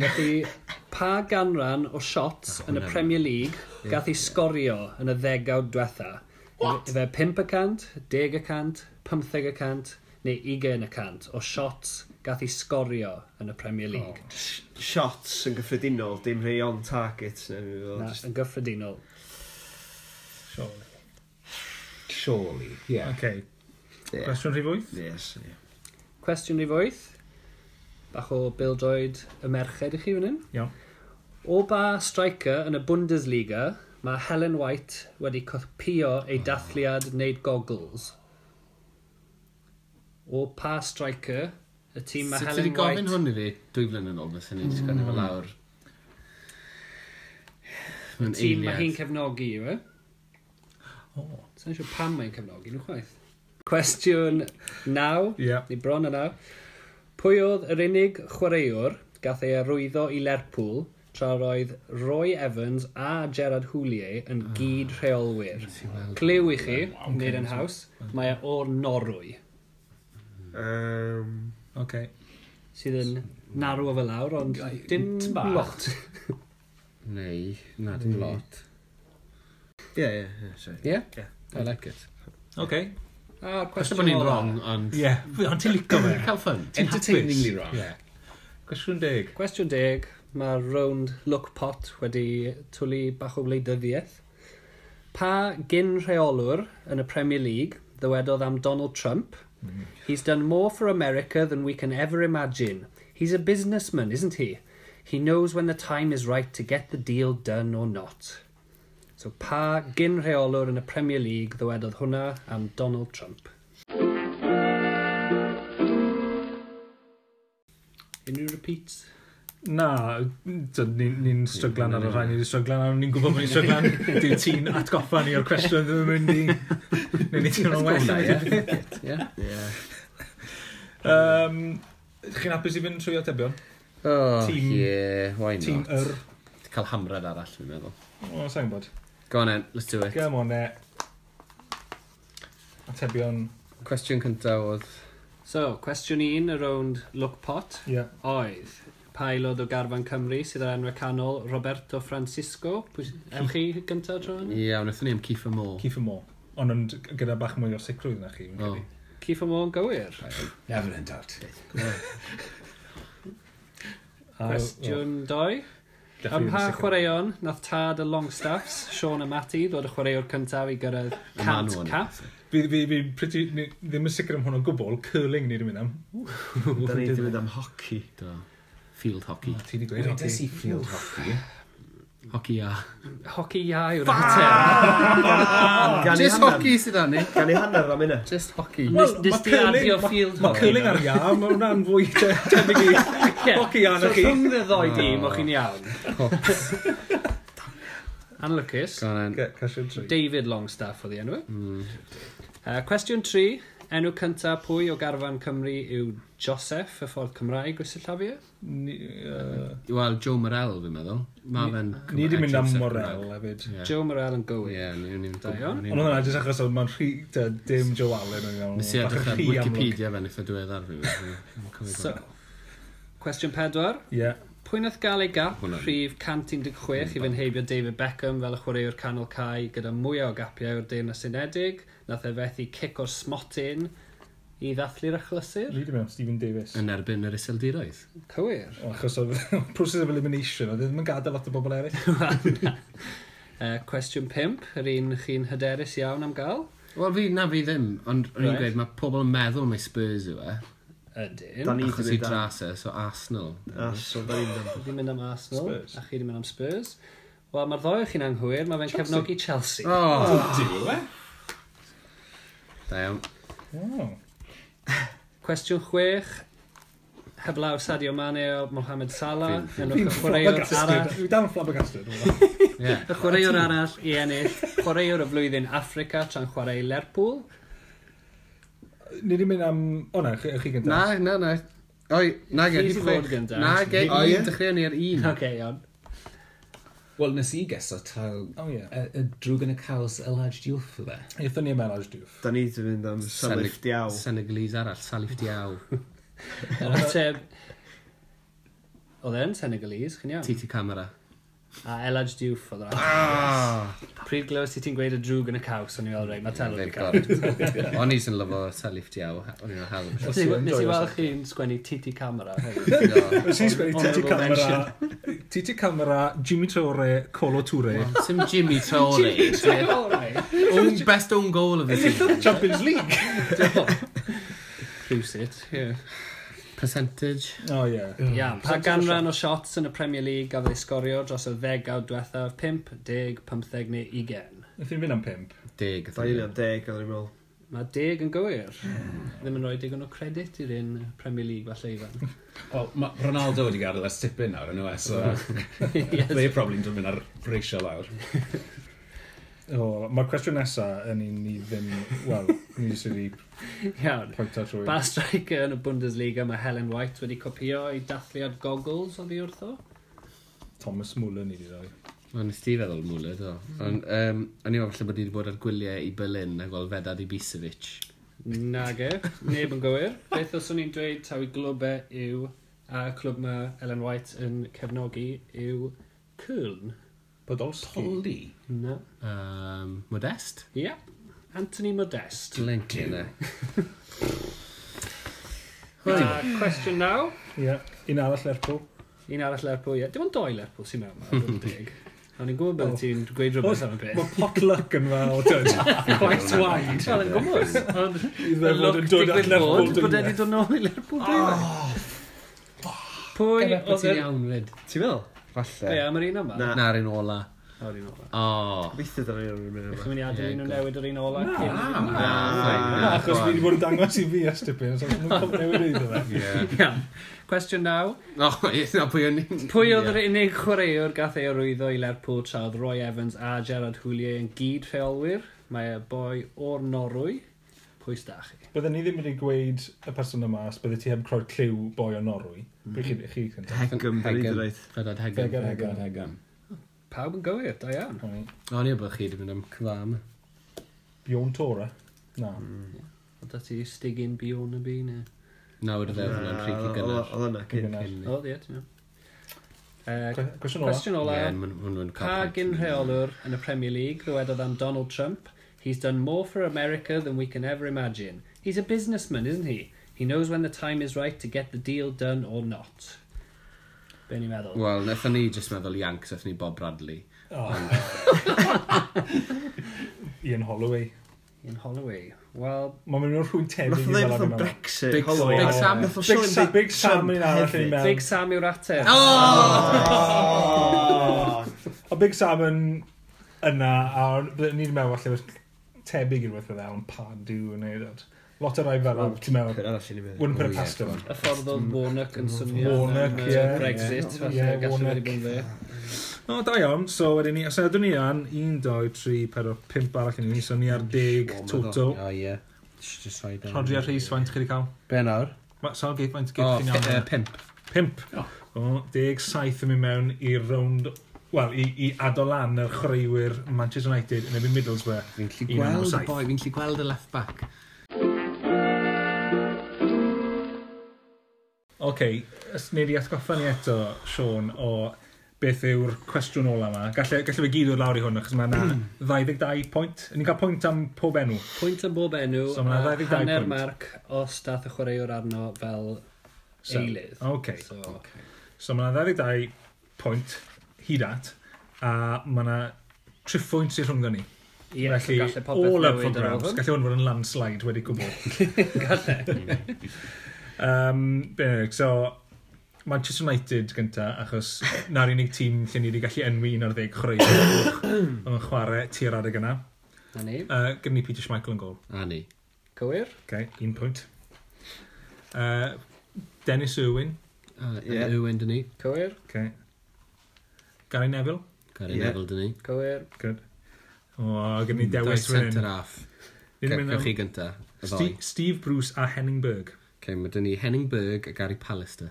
S4: Felly, pa ganran o shots yn y Premier League gath i sgorio yn y ddegawd diwetha? Efe 5%, 10%, 15% neu 20% o shots gath i sgorio yn y Premier League.
S6: Shots yn gyffredinol, dim rhai on target. Neu, mi
S4: Na,
S6: fel, just,
S4: yn gyffredinol.
S1: Surely.
S2: Surely, ie. Yeah.
S1: Okay.
S6: Ie.
S1: Cwestiwn rhif wyth?
S6: Yes, ie.
S4: Cwestiwn i fwyth. Bach o bildroed y merched i chi fan hyn.
S1: Iawn.
S4: O ba striker yn y Bundesliga, mae Helen White wedi copio
S3: Ah.
S4: ei dathliad wneud goggles. O pa striker y tîm mae
S3: Sut
S4: Helen
S3: ti'n
S4: White...
S3: gofyn hwn i fi dwy flynedd yn ôl beth ni'n sgwennu fel lawr? Mae'n
S4: Tîm mae hi'n
S3: eiliad.
S4: cefnogi yw e? O. Sa'n siŵr pam mae'n cefnogi nhw chwaith. Cwestiwn naw.
S1: Ie.
S4: Ni bron yna. Pwy oedd yr unig chwaraewr gath ei arwyddo i Lerpwl tra roedd Roy Evans a Gerard Houllier yn gyd rheolwyr. Clyw i chi, wneud yn haws, mae e o'r Norwy,
S6: Um,
S1: Okay.
S4: sydd yn narw o fel lawr, ond dim
S2: bach.
S4: lot.
S3: Neu, na, dim lot.
S6: ie, ie, ie, sorry.
S3: Ie? I like it.
S1: Okay.
S4: A
S3: Cwestiwn
S4: cwestiwn
S3: bod ni'n
S4: ola.
S3: wrong, ond...
S1: Ie. Yeah. Ond ti'n licio fe?
S3: Cael ffyn.
S2: Entertainingly wrong.
S1: Ie. Cwestiwn deg.
S4: Cwestiwn deg, mae'r rownd look pot wedi twlu bach o wleidyddiaeth. Pa gyn rheolwr yn y Premier League ddywedodd am Donald Trump? He's done more for America than we can ever imagine. He's a businessman, isn't he? He knows when the time is right to get the deal done or not. So pa gyn rheolwr yn y Premier League ddywedodd hwnna am Donald Trump? Unrhyw repeats?
S1: Na, t'od, ni'n ni stryglan ar y rhain, ni'n stryglan ar, ni'n gwybod bod ni'n stryglan. Dwi ti'n atgoffa ni o'r cwestiwn ddim yn mynd i... Neu ni ti'n rhan well
S3: Hwnna,
S1: ai.
S3: ie. Ie?
S1: Um, Chi'n hapus i fynd trwy atebion?
S3: O,
S1: Team-
S3: ie, Oh, why
S1: Tîm
S3: not?
S1: yr...
S3: Cael hamrad arall, fi'n meddwl.
S1: O, sa'n gwybod.
S3: Go on then, let's do it.
S1: Gam o'n e. Atebion...
S3: Cwestiwn cyntaf oedd...
S4: So, cwestiwn un ar rownd look pot.
S1: Ie.
S4: oedd paelod o Garfan Cymru sydd ar enwau canol Roberto Francisco. Pwy s- Am chi gyntaf tro hwn?
S3: Ie, wnaethon ni am Kiefer Moore.
S1: Keith Moore. Ond ond gyda bach mwy o sicrwydd na chi, fi'n
S3: O,
S1: credu.
S4: Cif am o'n gywir.
S2: Never in doubt.
S1: A-
S4: Cwestiwn 2.
S1: o, definitely
S4: Am
S1: yn
S4: pa
S1: sicr.
S4: chwaraeon nath tad y Longstaffs, Sean a Matty, ddod y chwaraewr cyntaf i gyrraedd
S3: Y man
S4: 100
S3: hwn.
S4: cap
S1: Fi, fi, fi pretty, ni, ddim yn sicr am hwn o gwbl, curling ni ddim yn am.
S6: Da ni wedi mynd am hoci.
S3: Do. Field hockey.
S1: Ti wedi gweud
S5: Des
S1: hoci.
S5: i field hockey.
S3: Hockey a...
S4: Hoci iau yw'r ateb.
S6: Gan i
S7: Ah, Just
S6: hanner.
S7: hockey sydd â ni.
S6: Gan i hanner am hynna.
S7: Just hockey.
S1: Wel,
S4: Nes- nes
S1: ma'
S4: di
S1: curling-
S4: adio
S1: ma-
S4: field
S1: Ma'
S4: hockey.
S1: curling ar ia, mae hwnna'n fwy te- tebyg i hoci
S4: So
S1: anna chi.
S4: rhwng y ddoi dîm, o'ch chi'n iawn.
S1: Oh.
S4: Anlwcus.
S3: Gan
S1: Ca- Casiwn tri.
S4: David Longstaff oedd ei enw. Mm.
S3: Hmm.
S4: Uh, cwestiwn 3. Enw cyntaf pwy o garfan Cymru yw Joseph, y ffordd Cymraeg e, gwestiwn llafio.
S1: Ni- yy,
S3: Wel, Joe Morel, fi'n meddwl. Mae fe'n...
S1: Ni wedi mynd am
S3: Joseph
S1: morel
S3: Cymraeg.
S1: hefyd.
S3: Ie.
S4: Joe Morel yn gywir.
S3: Ie, ni wni'n
S4: Da iawn.
S1: Ond hwnna jyst achos oedd ma'n rhy, te, dim Joe Allen yn iawn.
S3: Nes i
S1: Bach yn
S3: edrych ar
S1: rhy amlwg.
S3: Wikipedia fe'n eitha diweddar fi.
S4: So, cwestiwn 4.
S1: Ie.
S4: Pwy nath gael ei gap
S3: Hwnna.
S4: rhif 116 i fynheibio David Beckham fel y chwaraewr canol cae gyda mwyaf o gapiau o'r Deyrnas Unedig? Nath e fethu cic o'r smotyn i ddathlu'r achlysur?
S1: Fi wedi mewn Stephen Davis.
S3: Yn erbyn yr iseldiroedd.
S4: Cywir.
S1: O, Achos oedd process of elimination, oedd ddim yn gadael lot o bobl eraill.
S4: Uh, cwestiwn 5, yr un chi'n hyderus iawn am gael.
S3: Wel, fi, na fi ddim, ond o'n i'n
S4: Right.
S3: gweud, mae pobl yn meddwl mae Spurs yw e,
S4: Ydyn.
S6: Da ni
S3: achos
S6: wedi
S3: i
S6: mynd am.
S3: dras e, so Arsenal.
S6: Ah, so da ni'n mynd am.
S4: Di mynd am Arsenal,
S1: Spurs.
S4: a chi di mynd am Spurs. Wel, mae'r ddoi o chi'n anghywir, mae fe'n cefnogi Chelsea.
S3: Oh,
S5: Dyw e?
S3: da iawn.
S1: O.
S4: Cwestiwn 6, heblaw Sadio Mane o Mohamed Salah, yn
S1: Fi'n
S4: o'ch chwaraewr
S1: flabbergasted.
S4: arall.
S1: Fi dal yn flabbergasted.
S3: Ie.
S4: Y chwaraewr arall i ennill, chwaraewr y flwyddyn Africa tra'n chwarae i Lerpwl.
S1: Ni wedi mynd am... O na, chi, chi gyntaf.
S3: Na, na, na. Oi, na ge,
S4: Chi
S3: hi
S4: sy'n fod
S3: chwech.
S4: gyntaf.
S3: Na ge,
S5: O,
S3: i
S5: ie?
S3: dechrau ni ar un.
S1: Hmm.
S4: Oce, okay, iawn.
S5: Wel, nes i gesa taw
S1: O ie.
S5: y y drwg yn y caws y large e? deal for fe.
S1: Eithon ni am Elage Doof.
S6: Da ni wedi mynd am Salif Diaw.
S3: Senegalese arall, Salif Diaw.
S4: Yr ateb... Oedd e'n Senegalese, chi'n iawn.
S3: Titi Camera.
S4: A Elad Diouf oedd yr
S1: Ah!
S4: ateb. Pryd glywes i ti'n gweud y drwg yn y caws, o'n i'n meddwl rei, mae talwch i
S3: They've
S4: cael.
S3: got it. O'n i'n lyfo Salif Diaw. O'n i'n hawdd.
S4: Nes i nes i weld chi'n sgwennu titi camera hefyd.
S3: Do.
S1: Nes i'n sgwennu Titi
S4: Honourable
S1: Camera, Titi Camera, Jimmy Traore, Colo Toure.
S3: Sim Jimmy Traore. Own- Best own goal of the season.
S1: Champions League!
S4: Rhywsit.
S3: Percentage.
S1: O ie.
S4: Ia, pa ganran o shots yn y Premier League gafodd ei sgorio dros y ddegawd diwethaf 5, 10, 15 neu 20?
S1: Eithon ni fynd am pimp.
S3: Deg.
S6: Da ni'n am deg, oedd ni'n meddwl.
S4: Mae 10 yn gywir. Ddim yn rhoi digon o credit i'r un Premier League falle Ifan.
S5: Wel, ma' Ronaldo wedi gadael ers tipyn nawr yn yw e, so
S4: Yes.
S5: they probably yn mynd ar reisio lawr.
S1: O, mae'r cwestiwn nesa yn un ni ddim... Wel, ni jyst wedi
S4: Iawn.
S1: pwyntio trwy.
S4: Ba striker yn y Bundesliga mae Helen White wedi copio i dathliad goggles oedd hi wrtho?
S1: Thomas Muller ni wedi rhoi.
S3: Wel, nes ti feddwl mwle, do. Ond, um, o'n i'n falle bod i wedi bod ar gwyliau i Berlin a gweld Fedad Ibisevic.
S4: Nage, e, neb yn gywir. Beth os o'n i'n dweud taw i glwbau yw, a clwb mae Ellen White yn cefnogi yw Cwln.
S1: Podolski.
S5: Poldi.
S4: Na.
S3: Um, Modest?
S4: Ia. Anthony Modest.
S3: Lincoln, e.
S4: A cwestiwn naw.
S1: Ie. Un arall Lerpwl.
S4: Un arall Lerpwl, ie. Dim ond doi Lerpwl sy'n mewn, mae'n rhywbeth big. Ond i'n gwybod
S1: O.
S4: bod ti'n gweud rhywbeth am y
S1: Mae
S4: beth.
S1: potluck yn fel, tyd.
S4: Quite wide. Wel, yn gwybod. Ond
S1: I
S4: y
S1: ddefod
S4: look
S1: yn dod at
S4: digwydd
S1: Lerpwl
S4: bod, bod
S1: dyn
S4: wedi dod nôl i Lerpwl dwi. Pwy
S3: Bod
S4: oedd
S3: ti'n
S4: yr...
S3: iawn, fyd.
S6: Ti'n meddwl?
S3: Falle.
S4: Be, am yr un yma?
S6: Na.
S3: Na'r un ola.
S4: O'r un ola.
S3: O.
S6: Beth ydy ni'n mynd
S4: Chi'n
S6: am.
S4: mynd i
S3: Ie,
S4: adael un o
S3: go.
S4: newid yr un ola? cyn-
S1: Na, achos fi wedi bod yn dangos i fi ys tipyn, so nhw'n cofio newid iddo fe.
S3: Ie.
S4: Iawn. Cwestiwn naw.
S3: O, ie, na pwy o'n i'n...
S4: Pwy oedd yr unig chwaraewr gath ei orwyddo i Lerpwl tra oedd Roy Evans a Gerard Houllier yn gyd rheolwyr? Mae y boi o'r Norwy. Pwy sda chi?
S1: Byddwn ni ddim wedi gweid y person yma os bydde ti heb croed cliw boi o Norwy. Be chi, chi cyntaf?
S6: Hegym, da ni'n mynd rhaid.
S3: Fedad Hegem.
S1: Fegan, hegan,
S5: Hegan.
S4: Pawb yn gywir, da iawn.
S1: hegan.
S3: O, ni o bod chi wedi mynd am cyfam.
S1: Bion Tora. Na.
S4: Oedd da ti stigyn bion y bu neu?
S3: Nawr y ddefn yn rhaid i gynnar.
S6: Oedd yna,
S1: Cyn
S6: cyn.
S1: gynnar.
S4: Oedd ie, ti'n iawn.
S1: Cwe- Cwestiwn ola.
S4: Cwestiwn ola.
S3: Ie, ma'n- ma'n- ma'n
S4: Pa
S3: cael
S4: gyn
S3: point.
S4: rheolwr yn y Premier League ddywedodd am Donald Trump? He's done more for America than we can ever imagine. He's a businessman, isn't he? He knows when the time is right to get the deal done or not. Be ni'n meddwl?
S3: Wel, nethon ni jyst meddwl Yanks, nethon ni Bob Bradley.
S1: O. Ian Holloway.
S4: Ian Holloway. Wel,
S1: Mae'n mynd o'r rhywun tebyg
S6: Nath
S1: i fel
S6: o ddeud
S1: ar
S6: fatha
S1: hynna.
S6: Brexit.
S3: Big-
S6: Holloway.
S3: Big
S6: Nath o
S3: Sam.
S6: sôn
S1: Big
S6: am
S1: Sam, Big Sam
S6: Trump
S1: yn arall yn
S6: hefyd.
S1: mewn.
S4: Big Sam yw'r ateb.
S1: O Big Sam yn yna, a byddwn ni'n meddwl allai fod tebyg i'r fath o ddewn, Padu yn neud at. Lot o rai fel yna, ti'n meddwl,
S6: Pwyr arall i ni meddwl.
S1: wouldn't put
S3: Oh,
S1: it
S3: yeah,
S1: past him.
S4: Y ffordd oedd Warnock yn swnio.
S1: Warnock,
S4: am, uh,
S1: ie.
S4: Brexit,
S1: Ie,
S4: falle, gallu
S1: Warnock.
S4: wedi bod yn dde.
S1: O, da iawn. So, wedyn ni, os edwn ni an, 1, 2, 3, 4, 5 arall i ni, so ni ar 10 total.
S3: O, ie. Just- just rhaid yn-
S1: Rhodri ar rhys, faint chi wedi cael?
S3: Be nawr?
S1: Ma- Sawl gate faint
S3: O,
S1: gate chi'n
S3: p- yy,
S1: iawn?
S3: pimp.
S1: 5. O, 10, 7 yn mynd mewn i rownd, wel, i, i adolan yr chwaraewyr Manchester United yn ebyn Middlesbrough.
S3: Fi'n lli
S1: Un am
S3: gweld y
S1: saith.
S3: boi, fi'n lli gweld y left back.
S1: OK, os nid i atgoffa ni eto, Sean, o beth yw'r cwestiwn ola yma. Gallai gall fe gyd o'r lawr i hwn, achos mae yna 22 pwynt. Ni'n cael pwynt am pob enw.
S4: Pwynt am bob enw,
S1: So, ma' 22
S4: a hanner
S1: pwynt.
S4: marc os dath y chwaraewr arno fel
S1: So,
S4: eilydd.
S1: OK,
S4: So,
S1: so mae yna 22 pwynt hyd at, a mae yna triffwynt sy'n rhwngddo ni.
S4: ie, so gallai popeth
S1: all up for
S4: newid ar
S1: grabs.
S4: ofn.
S1: Gallai hwn fod yn landslide wedi gwbl. gallai. um, be, so, Manchester United gynta, achos na'r unig tîm lle ni wedi gallu enwi un o'r ddeg chwaraewyr oedd yn chwarae tu'r adeg yna.
S4: Na ni,
S1: Uh, Gyda ni Peter Schmeichel yn gol.
S3: A ni.
S4: cywir.
S1: Okay, un pwynt. Uh, Dennis Irwin.
S3: A
S6: Ie.
S3: Ewan dyn ni.
S4: Cywir,
S1: Okay. Gary Neville.
S3: Gary
S6: Ie.
S3: Neville dyn ni.
S4: cywir.
S1: Good. O, gyda ni
S3: Hmm, Dau
S1: dewis fan
S3: centre
S1: hyn.
S3: half.
S1: Ni'n mynd
S3: Gewch
S1: am
S3: chi gynta. Y ddoi.
S1: Sti- Steve Bruce a Henning Berg.
S3: Okay, mae dyn ni Henning Berg a Gary Pallister.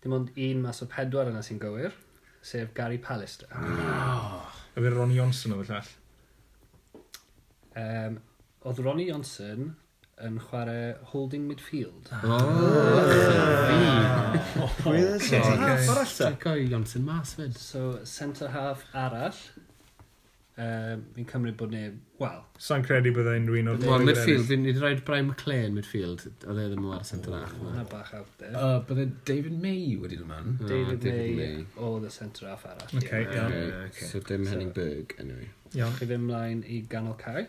S4: Dim ond un mas o pedwar yna sy'n gywir, sef Gary Pallister.
S1: A fe Ronnie Johnson oedd y llall.
S4: Um, oedd Ronnie Johnson yn chwarae holding midfield.
S3: Ah.
S6: Pwyr arall ta?
S3: Gary Johnson mas fyd.
S4: So, centre half arall, um, fi'n cymryd bod neb, wel,
S1: Sa'n credu bydda unrhyw un o'r
S3: Wel, midfield, fi'n wedi rhaid Brian McLean midfield, a dde ddim yn war centre half.
S4: hwnna bach out there.
S2: Uh, bydde David May wedi dod mewn.
S5: Hmm.
S3: Ah,
S4: David
S3: David
S4: May
S3: May.
S4: oedd y centre half arall.
S1: Ok,
S4: Ie.
S1: iawn.
S3: Okay, so dim Henning Berg, anyway.
S1: Iawn.
S4: Chi ddim mlaen i ganol cae,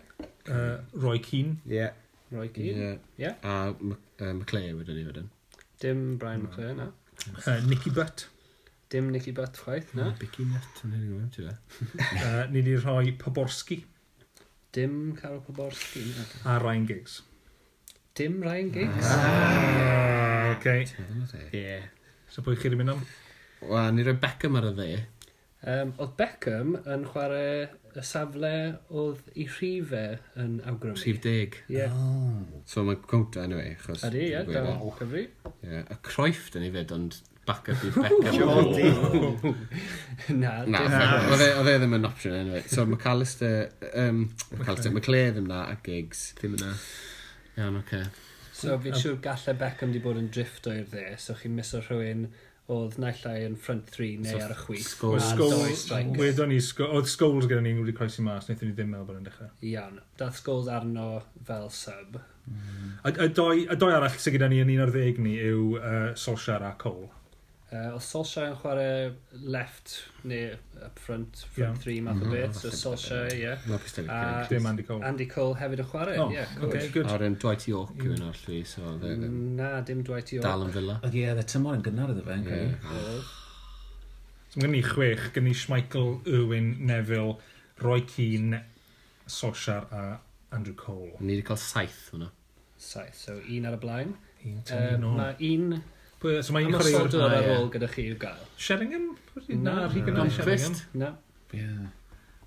S1: Uh, Roy Keane.
S6: Ie.
S4: roi gyd.
S3: Ie.
S4: Ie.
S3: A Mc- yy, McLean wedyn ni wedyn.
S4: Dim Brian McLaren na.
S1: Uh, Nicky Butt.
S4: Dim Nicky Butt chwaith na.
S3: Bicky Nut yn hynny gwneud, ti'n fe?
S1: Uh, ni wedi rhoi Poborski
S4: Dim Carol Poborski na.
S1: a Ryan Giggs.
S4: Dim
S3: Ah.
S4: Ryan Giggs.
S1: Uh, ok.
S4: Ie.
S1: So pwy chi wedi mynd am?
S3: Wel, ni roi Beckham ar y dde.
S4: Um, oedd Beckham yn chwarae y safle oedd i rhifau yn awgrymu.
S3: Rhif deg.
S4: Ie.
S3: So mae cwmta, anyway, achos...
S4: Ydy, ie,
S3: dwi'n
S4: da,
S3: gwybod.
S4: cyfri.
S3: Ie. A Croif dyn ni fyd, ond back up i Beckham.
S6: Bondi.
S4: Na,
S3: Na,
S4: dim-
S3: oedd e oedd e ddim yn option anyway. So McAllister, um, McAllister, McLean ddim na a Giggs. Ddim yna. Iawn, oce.
S4: So fi'n siŵr gallai Beckham di bod yn drift o'r dde, so chi'n miso rhywun oedd naillai yn front 3 neu
S3: So
S4: ar y chwith.
S3: Scholes-
S4: a doi strikers.
S1: Wedon ni, Scho- oedd Scholes gyda ni wedi croesi mas, wnaethon ni ddim meddwl bod yn dechrau.
S4: Iawn, dath Scholes arno fel sub.
S1: A, a, doi, a doi arall sydd gyda ni yn un o'r ddeg ni yw uh, Solskjaer a Cole.
S4: Uh, oedd Solskjaer yn chwarae left neu up front, front
S1: Iawn.
S4: 3 math o beth, so Solskjaer, ie.
S3: Mae pistol i
S4: A-
S3: Giggs.
S1: Dim Andy Cole.
S4: Andy Cole hefyd yn chwarae,
S1: Oh,
S4: ie. cool.
S1: ok, good.
S3: Ar yn Dwight York yw yn o'r llwy, so oedd e ddim.
S4: Na, dim Dwight York.
S3: Dal yn Villa.
S2: Oedd ie,
S5: e
S2: oedd y tymor yn gynnar iddo fe. yn credu.
S1: So mae gen ni chwech, gen ni Schmeichel, Irwin, Neville, Roy Keane, Solskjaer a Andrew Cole.
S3: Ni wedi cael saith hwnna.
S4: Saith, so un ar y blaen.
S1: Un
S4: Uh,
S1: tynnu nôl.
S4: Mae un
S1: Pwy- So mae un chwaraewr...
S4: ymosodwr ar
S3: ie.
S4: ôl gyda chi i'w gael.
S1: Sheringham? Pwy-
S4: Na,
S1: Na, rhi gynnar i Sheringham.
S3: Blomqvist?
S4: Na,
S2: Ie.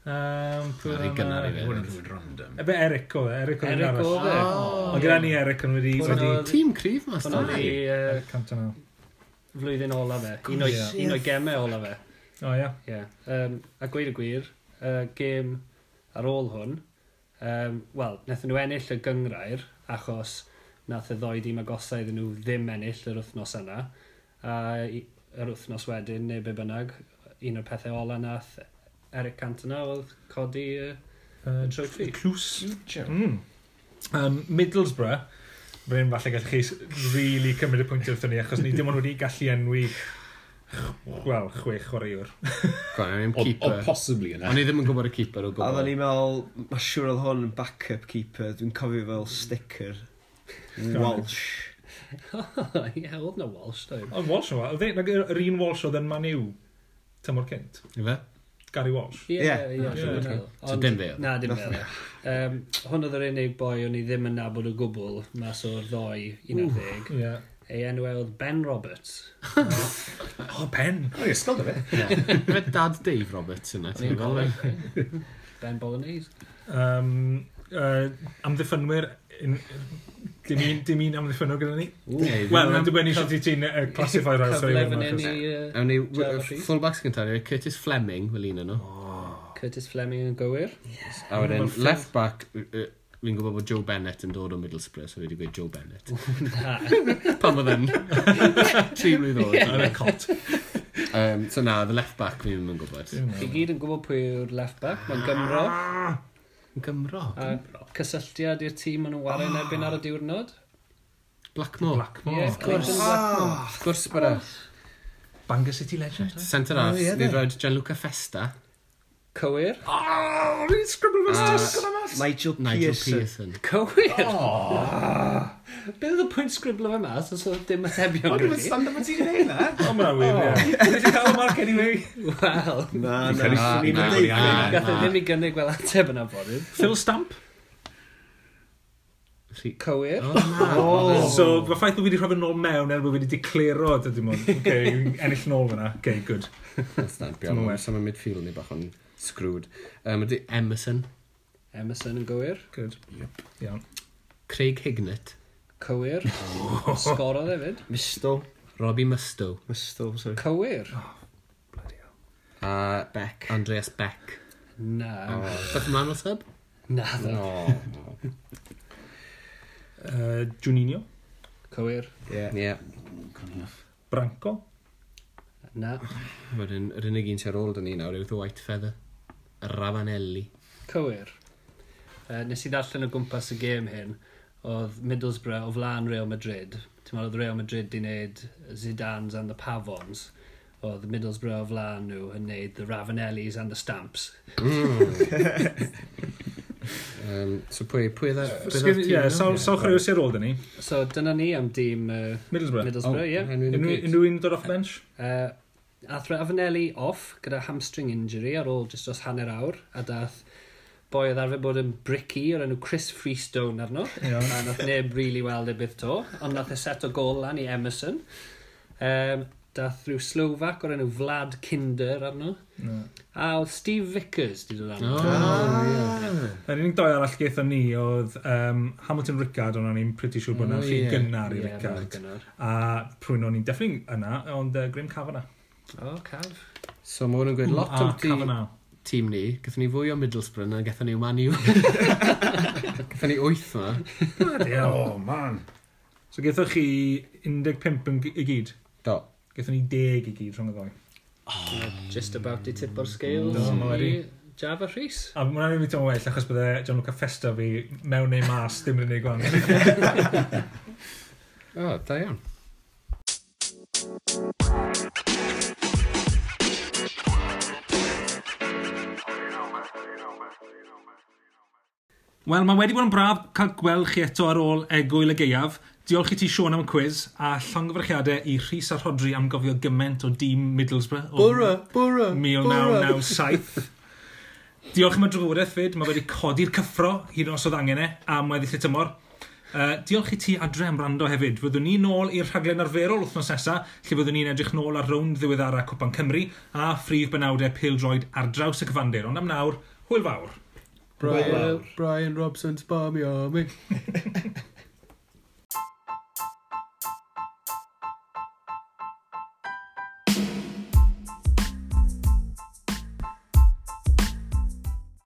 S1: Um, pwy
S3: Na, rhy
S1: oedd
S3: gynnar i
S1: yna?
S3: fe.
S2: Wyn yn rhywun random.
S1: Ebe Eric oedd e, Eric oedd yn
S4: Eric
S1: arall.
S4: oedd e.
S1: Ond gyda ni Eric yn wedi...
S4: Pwy
S1: wedi
S4: oedd-
S3: Tîm cryf mas
S4: Hwna
S3: da.
S4: oedd i
S1: Yy,
S4: uh,
S1: Cant yna.
S4: flwyddyn ola fe. Un o'i
S1: Ie.
S4: un o'i gemau ola fe.
S1: O ia.
S4: Ie. Um, a gweud y gwir, uh, gêm ar ôl hwn, um, wel, wnaethon nhw ennill y gyngrair, achos nath y ddoi dim agosau iddyn nhw ddim ennill yr wythnos yna. A i- yr wythnos wedyn, neu be bynnag, un o'r pethau ola nath Eric Cantona oedd codi y uh, trofi.
S1: Clws. Mm. Um, Middlesbrough, Fe'n falle gallech chi s- really cymryd y pwynt wrthyn ni, achos ni dim ond wedi gallu enwi Wel, chwech chwaraewr.
S3: Go on, I'm
S5: O, o
S3: keeper.
S5: possibly yna.
S3: O'n i ddim yn gwybod y keeper o
S6: A dda
S3: gwbl.
S6: ni'n meddwl, mae siŵr oedd hwn yn backup keeper, dwi'n cofio fel sticker. Welsh.
S4: Ie, oedd na Walsh, doedd.
S1: Ond Walsh o, oedd e, nag yr yr un Walsh oedd yn Man U, tymor cynt,
S3: Ife?
S1: Gary Walsh.
S4: Ie,
S6: Ie.
S4: ie,
S1: Ie.
S4: ie.
S3: So dim fe oedd?
S4: Na, dim
S6: Nothing.
S4: fel. Um, hwn oedd yr unig boi o'n i ddim yn nabod o gwbl mas o'r ddoi 11.
S1: Ie.
S4: Ei enw e oedd Ben Roberts.
S1: O, Ben!
S5: O'n i'n ysgol da fe.
S3: Fe dad Dave Roberts yna. ti'n gweld fe?
S4: Ben Bolognese.
S1: Um, uh, amddiffynwyr, in- dim un, dim un amddiffynwyr gyda ni.
S3: Ie,
S1: Wel,
S3: ddim
S1: mae'n
S3: am-
S1: dibynnu sut i ti'n uh, classify rhaid
S4: Cyfle fan
S1: sori.
S4: hyn i yy,
S3: Awn ni,
S4: Geography.
S3: fullbacks gyntaf, yw Curtis Fleming, fel un yno.
S4: Curtis Fleming yn gywir.
S3: A wedyn,
S1: Number
S3: left back, yy, yy, fi'n gwybod bod Joe Bennett yn dod o Middlesbrough, so fi wedi gweud Joe Bennett. Pan oedd yn tri mlynedd oed.
S1: Yn y cot.
S3: Um, so na, the left back fi ddim yn gwybod.
S4: Fi gyd yn gwybod pwy yw'r left back. Mae'n Gymro.
S3: Yn Gymro.
S4: A cysylltiad i'r tîm yn wario yn erbyn ar y diwrnod.
S3: Blackmore.
S4: Ie,
S1: Blackmore.
S4: of course. Ah,
S3: Wrth gwrs bod e.
S1: Bangor City Legend.
S3: Centre half, ni'n rhoi Gianluca Festa.
S4: Cywir.
S1: O, ni'n sgribl mewn stas gyda mas.
S6: Nigel
S3: Nigel Pearson.
S6: Pearson.
S4: Cywir! Be oedd y pwynt sgriblo fe mas os oedd dim atebion
S5: O'n i'n
S4: gyda
S5: stand up at e. ti'n ei na.
S1: O, mae'n wir, ie. Wedi cael y marc anyway.
S4: ni? Wel,
S6: Na, na,
S5: credu-
S3: Ah,
S6: na,
S5: Na, na,
S6: na, na.
S5: na.
S4: gath e ddim i gynnig fel ateb yna bodyn.
S1: Phil Stamp.
S3: Ah,
S4: Cywir.
S1: Oh. So, fy ffaith bod wedi rhoi yn ôl mewn er bod wedi declaro, dydym mwyn. OK, ennill yn ôl fyna. OK, good.
S3: That's not beyond.
S1: Dwi'n well.
S3: Some of midfield ni bach o'n screwed. Um, ydy Emerson,
S4: Emerson yn gywir.
S1: Good. Iawn.
S3: Craig Hignett,
S4: Cywir. Sgorodd hefyd.
S6: Mistol.
S3: Robbie Musto
S6: Mistol, sorry.
S4: Cywir.
S3: a uh, Beck. Andreas Beck. Ah.
S4: Na.
S3: Beth ymlaen o sub?
S4: Na ddo.
S1: Uh, Juninho.
S4: Cywir.
S3: Ie.
S1: Branco.
S4: Na.
S3: Wedyn, yr unig un sy'n ôl dyn ni nawr yw The White Feather. Y Ravanelli.
S4: Cywir. Uh, nes i ddarllen o gwmpas y gêm hyn, oedd Middlesbrough o flaen Real Madrid. Ti'n meddwl oedd Real Madrid di wneud Zidane's and the Pavons. Oedd Middlesbrough o flaen nhw yn wneud the Ravenellis and the Stamps.
S3: Mm. Um, so pwy, pwy e dda?
S1: Ie, sawl chreu sy'n ôl dyn ni.
S4: So dyna ni am dîm uh,
S1: Middlesbrough.
S3: Oh,
S4: Middlesbrough, ie.
S1: Unrhyw
S3: Ie.
S1: unrhyw un dod off bench?
S4: Uh, ath Ravenelli off gyda hamstring injury ar ôl just dros hanner awr a dath boi oedd arfer bod yn bricky o'r enw Chris Freestone arno a nath neb really weld e byth to ond nath e set o gol lan i Emerson um, dath rhyw Slovak o'r enw Vlad Kinder arno a oedd Steve Vickers di dod
S3: Oh,
S4: arno
S1: Yr unig doi arall gaethon ni oedd um, Hamilton Rickard, ond o'n i'n pretty siŵr bod yna
S3: O,
S1: lle
S3: ie.
S1: gynnar i
S4: Ie, mae'n
S1: Rickard.
S4: gynnar.
S1: A prwy'n o'n i'n deffyn yna, ond uh, Graham Cavana.
S4: O, caf.
S3: So mae hwn yn gweud lot
S1: Mm, A
S3: o'r tîm.
S1: Cavana.
S3: tîm ni, gatho ni fwy o Middlesbrough na gatho ni o Man U. gatho ni wyth ma.
S5: Oh, man.
S1: So gaethoch chi 15 yn gy- i gyd.
S3: Do.
S1: Gaethon ni 10 i gyd rhwng y ddoi.
S4: just about i tip o'r scales
S1: Do, ma'
S4: i
S1: wedi.
S4: Java Rhys
S1: A mwna ni'n mynd o'n well, achos bydde John Luca Festa fi mewn neu mas, dim yn unig gwan.
S3: O, oh, da iawn.
S1: Wel, mae wedi bod yn braf cael gweld chi eto ar ôl egwyl y geiaf. Diolch i ti Sean am y cwiz a llongyfarchiadau i Rhys a Rhodri am gofio gyment o dîm Middlesbrough. o
S6: bwra,
S1: 1997. Diolch am y drafodaeth fyd, mae wedi codi'r cyffro hyd yn os oedd angen e am weddill y tymor. Uh, diolch i ti adre am rando hefyd. Fyddwn ni nôl i'r rhaglen arferol wrthnos nesa, lle fyddwn ni'n edrych nôl ar rownd ddiweddara Cwpan Cymru a phrif benawdau pildroed ar draws y cyfandir. Ond am nawr, hwyl fawr.
S3: Brian, Brian Robson's Barmy Army.